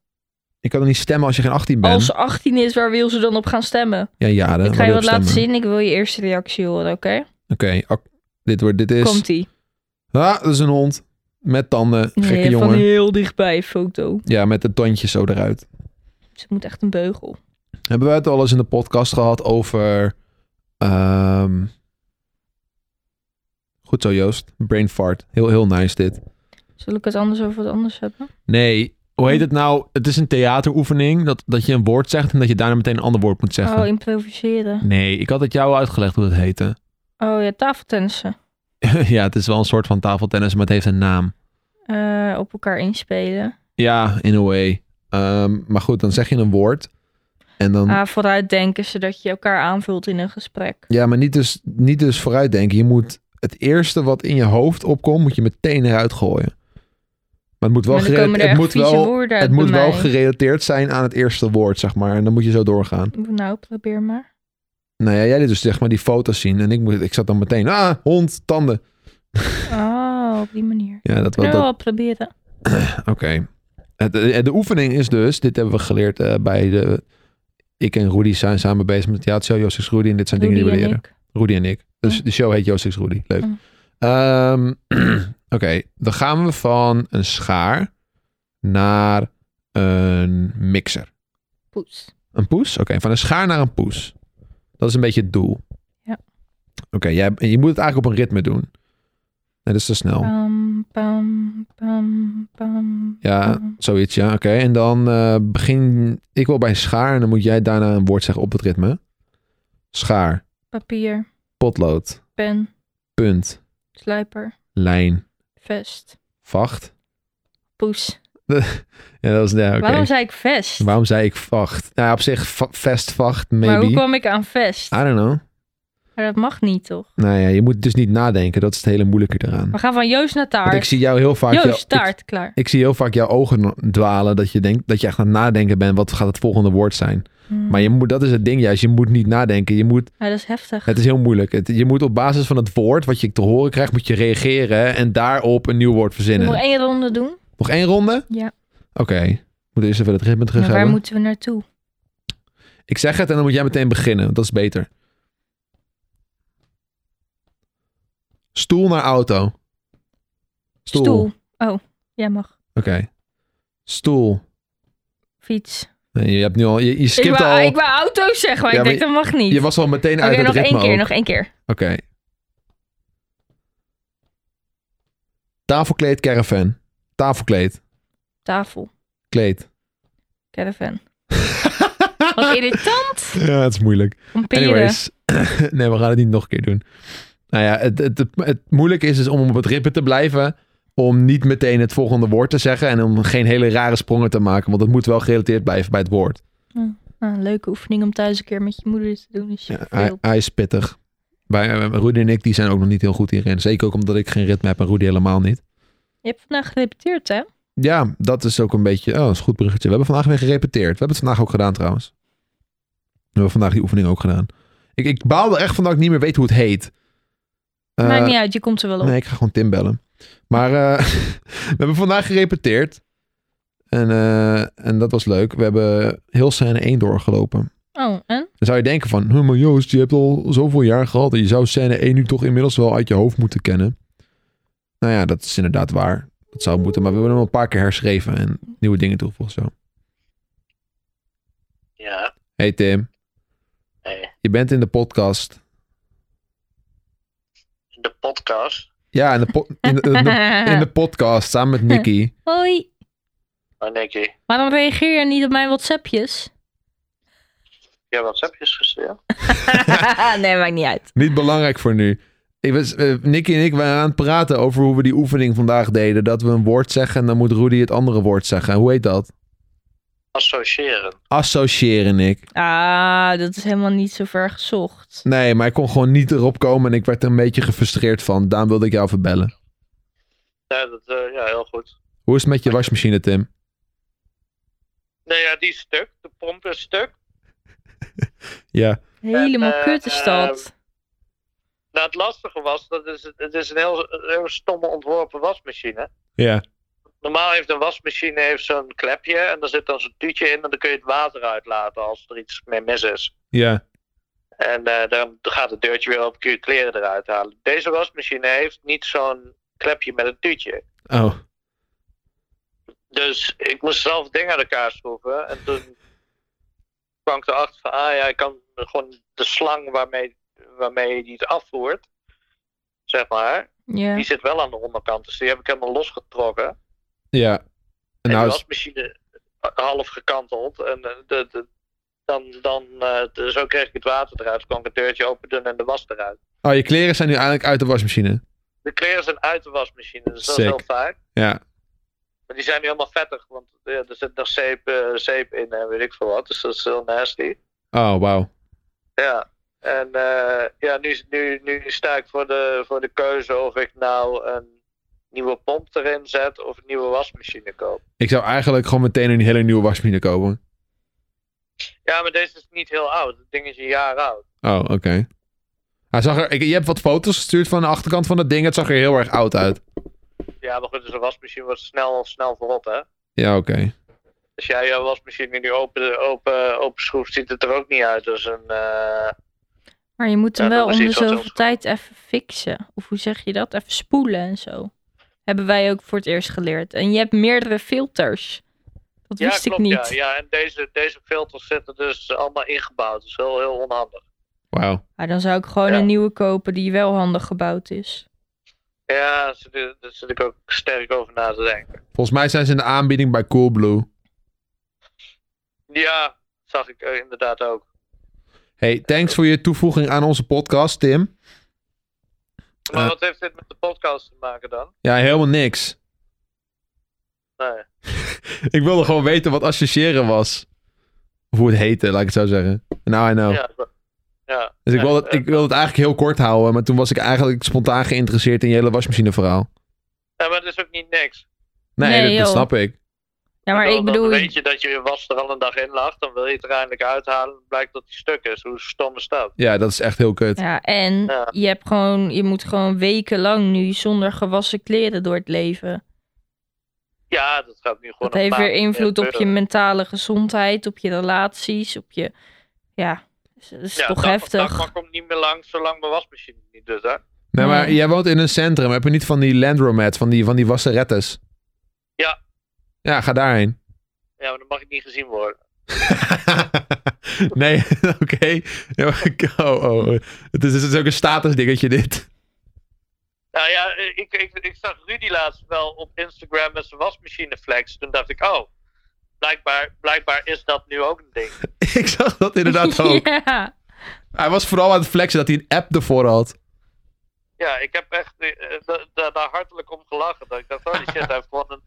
[SPEAKER 2] Ik kan er niet stemmen als je geen 18 bent.
[SPEAKER 1] Als ze 18 is, waar wil ze dan op gaan stemmen?
[SPEAKER 2] Ja, Jade.
[SPEAKER 1] ik ga
[SPEAKER 2] waar
[SPEAKER 1] je
[SPEAKER 2] wil
[SPEAKER 1] wat
[SPEAKER 2] je op
[SPEAKER 1] laten
[SPEAKER 2] stemmen?
[SPEAKER 1] zien. Ik wil je eerste reactie horen, oké?
[SPEAKER 2] Oké, ak- dit, wordt, dit is...
[SPEAKER 1] Komt-ie.
[SPEAKER 2] Ah, dat is een hond. Met tanden. Gekke
[SPEAKER 1] Nee,
[SPEAKER 2] jongen.
[SPEAKER 1] van heel dichtbij, foto.
[SPEAKER 2] Ja, met de tandjes zo eruit.
[SPEAKER 1] Ze moet echt een beugel.
[SPEAKER 2] Hebben wij het al eens in de podcast gehad over... ehm, Goed zo, Joost. Brain fart. Heel, heel nice dit.
[SPEAKER 1] Zal ik het anders over wat anders hebben?
[SPEAKER 2] Nee, hoe
[SPEAKER 1] Hm?
[SPEAKER 2] heet het nou? Het is een theateroefening. Dat, dat je een woord zegt en dat je daarna meteen een ander woord moet zeggen.
[SPEAKER 1] Oh, improviseren.
[SPEAKER 2] Nee, ik had het jou uitgelegd hoe dat heette.
[SPEAKER 1] Oh ja, tafeltennissen.
[SPEAKER 2] ja, het is wel een soort van tafeltennis, maar het heeft een naam.
[SPEAKER 1] Eh, op elkaar inspelen.
[SPEAKER 2] Ja, in a way. Ehm, maar goed, dan zeg je een woord. En dan...
[SPEAKER 1] Ah, vooruitdenken, zodat je elkaar aanvult in een gesprek.
[SPEAKER 2] Ja, maar niet dus, niet dus vooruitdenken. Je moet het eerste wat in je hoofd opkomt, moet je meteen eruit gooien. Maar het moet wel,
[SPEAKER 1] maar dan
[SPEAKER 2] gerela-
[SPEAKER 1] komen er
[SPEAKER 2] het
[SPEAKER 1] echt
[SPEAKER 2] moet
[SPEAKER 1] vieze
[SPEAKER 2] wel,
[SPEAKER 1] woorden uit
[SPEAKER 2] het moet
[SPEAKER 1] bij
[SPEAKER 2] wel
[SPEAKER 1] mij.
[SPEAKER 2] gerelateerd zijn aan het eerste woord, zeg maar. En dan moet je zo doorgaan.
[SPEAKER 1] Nou, probeer maar.
[SPEAKER 2] Nou ja, jij liet dus zeg maar die foto's zien. En ik, moet, ik zat dan meteen, ah, hond, tanden.
[SPEAKER 1] Oh, op die manier.
[SPEAKER 2] Ja, dat,
[SPEAKER 1] Kunnen
[SPEAKER 2] dat,
[SPEAKER 1] we wel proberen.
[SPEAKER 2] Oké. Het- eh, De, de oefening is dus, dit hebben we geleerd eh, bij de... Ik en Rudy zijn samen bezig met de show Josix Rudy. En dit zijn dingen die we
[SPEAKER 1] Rudy en
[SPEAKER 2] leren.
[SPEAKER 1] ik.
[SPEAKER 2] Rudy en ik. Dus
[SPEAKER 1] Ja.
[SPEAKER 2] de show heet Josix Rudy. Leuk.
[SPEAKER 1] Mm.
[SPEAKER 2] Ehm, Oké, dan gaan we van een schaar naar een mixer.
[SPEAKER 1] Poes.
[SPEAKER 2] Een poes? Oké, van een schaar naar een poes. Dat is een beetje het doel.
[SPEAKER 1] Ja.
[SPEAKER 2] Oké, jij, je moet het eigenlijk op een ritme doen. Nee, dat is te snel.
[SPEAKER 1] Oh. Pam, pam, pam, pam.
[SPEAKER 2] Ja,
[SPEAKER 1] pam.
[SPEAKER 2] zoiets, ja. Oké, en dan eh, begin ik wel bij schaar en dan moet jij daarna een woord zeggen op het ritme. Schaar,
[SPEAKER 1] Papier,
[SPEAKER 2] potlood,
[SPEAKER 1] pen,
[SPEAKER 2] punt,
[SPEAKER 1] slijper,
[SPEAKER 2] lijn,
[SPEAKER 1] vest,
[SPEAKER 2] vacht.
[SPEAKER 1] poes.
[SPEAKER 2] Ja, dat was, ja, oké.
[SPEAKER 1] Waarom zei ik vest?
[SPEAKER 2] Waarom zei ik vacht? Nou, op zich va- vest, vacht,
[SPEAKER 1] Maar hoe
[SPEAKER 2] maybe. Ah.
[SPEAKER 1] kwam ik aan vest?
[SPEAKER 2] I don't know.
[SPEAKER 1] Oké, Maar dat mag niet, toch?
[SPEAKER 2] Nou ja, je moet dus niet nadenken. Dat is het hele moeilijke eraan.
[SPEAKER 1] We gaan van Joost naar
[SPEAKER 2] Want ik
[SPEAKER 1] taart.
[SPEAKER 2] zie jou heel vaak... jou-
[SPEAKER 1] Joost,
[SPEAKER 2] ik-
[SPEAKER 1] taart, klaar.
[SPEAKER 2] Ik zie heel vaak jouw ogen dwalen. Dat je, denkt, dat je echt aan het nadenken bent. Wat gaat het volgende woord zijn?
[SPEAKER 1] Hmm.
[SPEAKER 2] Maar je moet, dat is het ding juist. Je moet niet nadenken. Je moet,
[SPEAKER 1] Ja, dat is heftig.
[SPEAKER 2] het is heel moeilijk. Het- je moet op basis van het woord wat je te horen krijgt. Moet je reageren. En daarop een nieuw woord
[SPEAKER 1] Moet nog
[SPEAKER 2] verzinnen.
[SPEAKER 1] één ronde doen.
[SPEAKER 2] Nog één ronde?
[SPEAKER 1] Ja.
[SPEAKER 2] Oké. Moet eerst even het ritme terug
[SPEAKER 1] Maar waar
[SPEAKER 2] hebben.
[SPEAKER 1] moeten we naartoe?
[SPEAKER 2] Ik zeg het en dan moet jij meteen beginnen. Dat is beter. Stoel naar auto. Stoel. Oké.
[SPEAKER 1] Oh, jij mag.
[SPEAKER 2] Stoel.
[SPEAKER 1] Fiets.
[SPEAKER 2] Nee, je hebt nu al. Je, je
[SPEAKER 1] Ik
[SPEAKER 2] skipt
[SPEAKER 1] wou,
[SPEAKER 2] al.
[SPEAKER 1] ik wou auto's zeggen, maar
[SPEAKER 2] Ja,
[SPEAKER 1] ik
[SPEAKER 2] maar
[SPEAKER 1] denk dat mag niet.
[SPEAKER 2] Je was al meteen
[SPEAKER 1] Oké,
[SPEAKER 2] uit
[SPEAKER 1] nog
[SPEAKER 2] het ritme.
[SPEAKER 1] één keer,
[SPEAKER 2] ook.
[SPEAKER 1] nog één keer.
[SPEAKER 2] Oké. Tafelkleed caravan. Tafelkleed.
[SPEAKER 1] Tafel,
[SPEAKER 2] Kleed.
[SPEAKER 1] caravan. Wat irritant.
[SPEAKER 2] Ja, het is moeilijk.
[SPEAKER 1] Om peren.
[SPEAKER 2] Ah. Anyways, nee, we gaan het niet nog een keer doen. Nou ja, het, het, het, het moeilijke is dus om op het ritme te blijven. Om niet meteen het volgende woord te zeggen. En om geen hele rare sprongen te maken. Want het moet wel gerelateerd blijven bij het woord.
[SPEAKER 1] Nou, een leuke oefening om thuis een keer met je moeder te doen. Is
[SPEAKER 2] Ja, hij,
[SPEAKER 1] veel.
[SPEAKER 2] hij is pittig. Wij, eh, Rudy en ik die zijn ook nog niet heel goed hierin. Zeker ook omdat ik geen ritme heb en Rudy helemaal niet.
[SPEAKER 1] Je hebt vandaag gerepeteerd, hè?
[SPEAKER 2] Eh, Ja, dat is ook een beetje... Oh, dat is een goed bruggetje. We hebben vandaag weer gerepeteerd. We hebben het vandaag ook gedaan trouwens. We hebben vandaag die oefening ook gedaan. Ik, ik baalde echt van dat ik niet meer weet hoe het heet. Eh,
[SPEAKER 1] Maakt niet uit, je komt er wel op.
[SPEAKER 2] Nee, ik ga gewoon Tim bellen. Maar eh, we hebben vandaag gerepeteerd. En, eh, en dat was leuk. We hebben heel scène 1 doorgelopen.
[SPEAKER 1] Oh, en?
[SPEAKER 2] Dan zou je denken van... "Huh, maar Joost, je hebt al zoveel jaar gehad... en je zou scène 1 nu toch inmiddels wel uit je hoofd moeten kennen. Nou ja, dat is inderdaad waar. Dat zou moeten. Maar we hebben hem een paar keer herschreven... en nieuwe dingen toegevoegd zo.
[SPEAKER 3] Ja,
[SPEAKER 2] Hey Tim,
[SPEAKER 3] hey.
[SPEAKER 2] je bent in de podcast.
[SPEAKER 3] in de podcast.
[SPEAKER 2] Ja, in de, po- in de, in Eh, de, in de podcast samen met Nicky.
[SPEAKER 1] Hoi,
[SPEAKER 3] Maar Nicky,
[SPEAKER 1] waarom reageer je niet op mijn WhatsAppjes?
[SPEAKER 3] ja, wat heb je gestuurd?
[SPEAKER 1] nee, maakt niet uit.
[SPEAKER 2] Niet belangrijk voor nu. Ik was, eh, Nicky en ik waren aan het praten over hoe we die oefening vandaag deden. Dat we een woord zeggen en dan moet Rudy het andere woord zeggen. Hoe heet dat?
[SPEAKER 3] Associëren.
[SPEAKER 2] Associëren, ik.
[SPEAKER 1] Ah, dat is helemaal niet zo ver gezocht.
[SPEAKER 2] Nee, maar ik kon gewoon niet erop komen en ik werd er een beetje gefrustreerd van. Daarom wilde ik jou verbellen.
[SPEAKER 3] Ja, dat, eh, ja, heel goed.
[SPEAKER 2] Hoe is het met je wasmachine, Tim?
[SPEAKER 3] Nee, ja, die is stuk. De pomp is stuk.
[SPEAKER 2] Ja.
[SPEAKER 1] Helemaal
[SPEAKER 3] Eh, eh,
[SPEAKER 1] kut is dat.
[SPEAKER 3] Nou, het lastige was, dat is, het is een heel, een heel stomme ontworpen wasmachine.
[SPEAKER 2] Ja.
[SPEAKER 3] Normaal heeft een wasmachine heeft zo'n klepje en daar zit dan zo'n tuutje in en dan kun je het water uitlaten als er iets mee mis is.
[SPEAKER 2] Ja.
[SPEAKER 3] En eh, dan gaat het deurtje weer open, kun je kleren eruit halen. Deze wasmachine heeft niet zo'n klepje met een tuutje.
[SPEAKER 2] Oh.
[SPEAKER 3] Dus ik moest zelf dingen aan elkaar schroeven. En toen kwam ik erachter van, ah ja, ik kan gewoon de slang waarmee, waarmee je die het afvoert, zeg maar,
[SPEAKER 1] Ja.
[SPEAKER 3] die zit wel aan de onderkant. Dus die heb ik helemaal losgetrokken. En,
[SPEAKER 2] Ja. En
[SPEAKER 3] de
[SPEAKER 2] nou is...
[SPEAKER 3] wasmachine eh, half gekanteld. En eh, de, de- dan, dan, eh, de- zo kreeg ik het water eruit. Kon ik het deurtje open doen en de was eruit.
[SPEAKER 2] Oh, je kleren zijn nu eigenlijk uit de wasmachine.
[SPEAKER 3] De kleren zijn uit de wasmachine, dus dat
[SPEAKER 2] Sick.
[SPEAKER 3] is heel fijn.
[SPEAKER 2] Ja.
[SPEAKER 3] Maar die zijn nu helemaal vettig, want ja, er zit nog zeep, eh, zeep in en weet ik veel wat. Dus dat is heel nasty.
[SPEAKER 2] Oh, wauw.
[SPEAKER 3] Ja, en eh, ja, nu, nu, nu sta ik voor de, voor de keuze of ik nou een nieuwe pomp erin zet of een nieuwe wasmachine koop.
[SPEAKER 2] Ik zou eigenlijk gewoon meteen een hele nieuwe wasmachine kopen.
[SPEAKER 3] Ja, maar deze is niet heel oud. Het ding is een jaar oud.
[SPEAKER 2] Oh, oké. Hij zag er... ik- je hebt wat foto's gestuurd van de achterkant van dat ding. Het zag er heel erg oud uit.
[SPEAKER 3] Ja, maar goed, dus een wasmachine wordt snel, snel verrot, hè?
[SPEAKER 2] Ja, oké.
[SPEAKER 3] Als jij jouw wasmachine nu open, open, open schroeft, ziet het er ook niet uit als een... eh,
[SPEAKER 1] Maar je moet hem
[SPEAKER 3] Ja,
[SPEAKER 1] wel
[SPEAKER 3] dat
[SPEAKER 1] om
[SPEAKER 3] is
[SPEAKER 1] de
[SPEAKER 3] iets wat heel
[SPEAKER 1] zoveel tijd even fixen. Of hoe zeg je dat? Even spoelen en zo. Hebben wij ook voor het eerst geleerd. En je hebt meerdere filters. Dat
[SPEAKER 3] Ja,
[SPEAKER 1] wist
[SPEAKER 3] klopt,
[SPEAKER 1] ik
[SPEAKER 3] ja.
[SPEAKER 1] niet.
[SPEAKER 3] Ja, en deze, deze filters zitten dus allemaal ingebouwd. Dus heel, heel onhandig.
[SPEAKER 2] Wauw.
[SPEAKER 1] Maar dan zou ik gewoon
[SPEAKER 3] Ja.
[SPEAKER 1] een nieuwe kopen die wel handig gebouwd is.
[SPEAKER 3] Ja, daar zit ik- daar zit ik ook sterk over na te denken.
[SPEAKER 2] Volgens mij zijn ze in de aanbieding bij Coolblue.
[SPEAKER 3] Ja, zag ik eh, inderdaad ook.
[SPEAKER 2] Hey, thanks voor je toevoeging aan onze podcast, Tim.
[SPEAKER 3] Maar
[SPEAKER 2] Eh.
[SPEAKER 3] wat heeft dit met de podcast te maken dan?
[SPEAKER 2] Ja, helemaal niks.
[SPEAKER 3] Nee.
[SPEAKER 2] Ik wilde gewoon weten wat associëren was. Of hoe het heette, laat ik het zo zeggen. Nou, I know.
[SPEAKER 3] Ja, eh, dat- ja.
[SPEAKER 2] Dus ik wil, het, ik wil het eigenlijk heel kort houden, maar toen was ik eigenlijk spontaan geïnteresseerd in je hele wasmachine verhaal.
[SPEAKER 3] Ja, maar dat is ook niet niks.
[SPEAKER 2] Nee,
[SPEAKER 1] Nee,
[SPEAKER 2] dat,
[SPEAKER 1] joh.
[SPEAKER 2] dat snap ik.
[SPEAKER 1] Ja, maar
[SPEAKER 3] bedoel,
[SPEAKER 1] ik bedoel...
[SPEAKER 3] Dan weet je dat je was er al een dag in lag, dan wil je het er eindelijk uithalen. Dan blijkt dat die stuk is. Hoe stom is dat?
[SPEAKER 2] Ja, dat is echt heel kut.
[SPEAKER 1] Ja, en
[SPEAKER 3] Ja.
[SPEAKER 1] je hebt gewoon... Je moet gewoon wekenlang nu zonder gewassen kleren door het leven.
[SPEAKER 3] Ja, dat gaat nu gewoon
[SPEAKER 1] Dat heeft
[SPEAKER 3] maand
[SPEAKER 1] weer invloed op je
[SPEAKER 3] gebeuren.
[SPEAKER 1] mentale gezondheid, op je relaties, op je... Ja, dat is- dat is
[SPEAKER 3] Ja,
[SPEAKER 1] toch
[SPEAKER 3] dat-
[SPEAKER 1] heftig.
[SPEAKER 3] Dat komt niet meer lang, zolang mijn wasmachine niet doet, hè?
[SPEAKER 2] Nee, maar
[SPEAKER 1] Nee.
[SPEAKER 2] jij woont in een centrum. Heb je niet van die landromats, van die, van die wasserettes?
[SPEAKER 3] Ja.
[SPEAKER 2] Ja, ga daarheen.
[SPEAKER 3] Ja, maar dan mag ik niet gezien worden.
[SPEAKER 2] nee, oké. Ja, maar ik- oh, oh. Het, is, het is ook een statusdingetje dit.
[SPEAKER 3] Nou ja, ik, ik, ik zag Rudy laatst wel op Instagram met zijn wasmachine flex. Toen dacht ik, oh, blijkbaar, blijkbaar is dat nu ook een ding.
[SPEAKER 2] ik zag dat inderdaad ook.
[SPEAKER 1] ja.
[SPEAKER 2] Hij was vooral aan het flexen dat hij een app ervoor had.
[SPEAKER 3] Ja, ik heb echt eh, da- da- daar hartelijk om gelachen. Dat ik dacht, oh die shit, hij heeft gewoon een...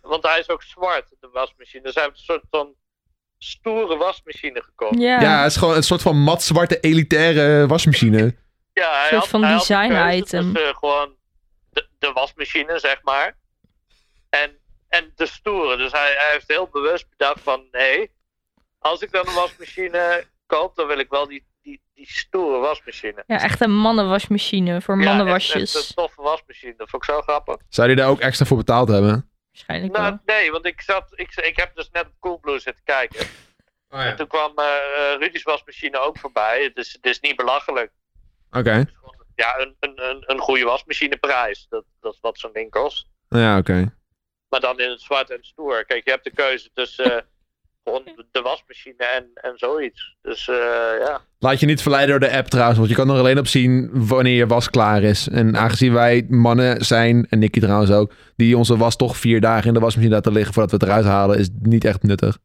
[SPEAKER 3] Want hij is ook zwart, de wasmachine. Dus hij heeft een soort van stoere wasmachine gekocht.
[SPEAKER 1] Ja.
[SPEAKER 2] Ja, het is gewoon een soort van matzwarte elitaire wasmachine.
[SPEAKER 3] Ja, hij
[SPEAKER 1] soort
[SPEAKER 3] had,
[SPEAKER 1] van
[SPEAKER 3] hij had de
[SPEAKER 1] design
[SPEAKER 3] keuze
[SPEAKER 1] item.
[SPEAKER 3] tussen gewoon de, de wasmachine, zeg maar. En, en de stoere. Dus hij, hij heeft heel bewust bedacht van... Hé, als ik dan een wasmachine koop, dan wil ik wel die, die, die stoere wasmachine.
[SPEAKER 1] Ja, echt een mannenwasmachine voor
[SPEAKER 3] Ja, echt- echt
[SPEAKER 1] mannenwasjes.
[SPEAKER 3] een toffe wasmachine. Dat vond ik zo grappig.
[SPEAKER 2] Zou hij daar ook extra voor betaald hebben?
[SPEAKER 1] Waarschijnlijk
[SPEAKER 3] Nou,
[SPEAKER 1] wel.
[SPEAKER 3] nee, want ik, zat, ik, ik heb dus net op Coolblue zitten kijken. En toen kwam eh eh, Rudy's wasmachine ook voorbij. Het is, het is niet belachelijk.
[SPEAKER 2] Oké.
[SPEAKER 3] Ja, een, een, een, een goede wasmachineprijs. Dat, dat is wat zo'n ding kost.
[SPEAKER 2] Nou Ja, oké.
[SPEAKER 3] Maar dan in het zwart en stoer. Kijk, je hebt de keuze tussen eh, gewoon de wasmachine en, en zoiets. Dus eh, ja.
[SPEAKER 2] Laat je niet verleiden door de app trouwens, want je kan er alleen op zien wanneer je was klaar is. En aangezien wij mannen zijn, en Nicky trouwens ook, die onze was toch vier dagen in de wasmachine laten liggen voordat we het eruit halen, is niet echt nuttig.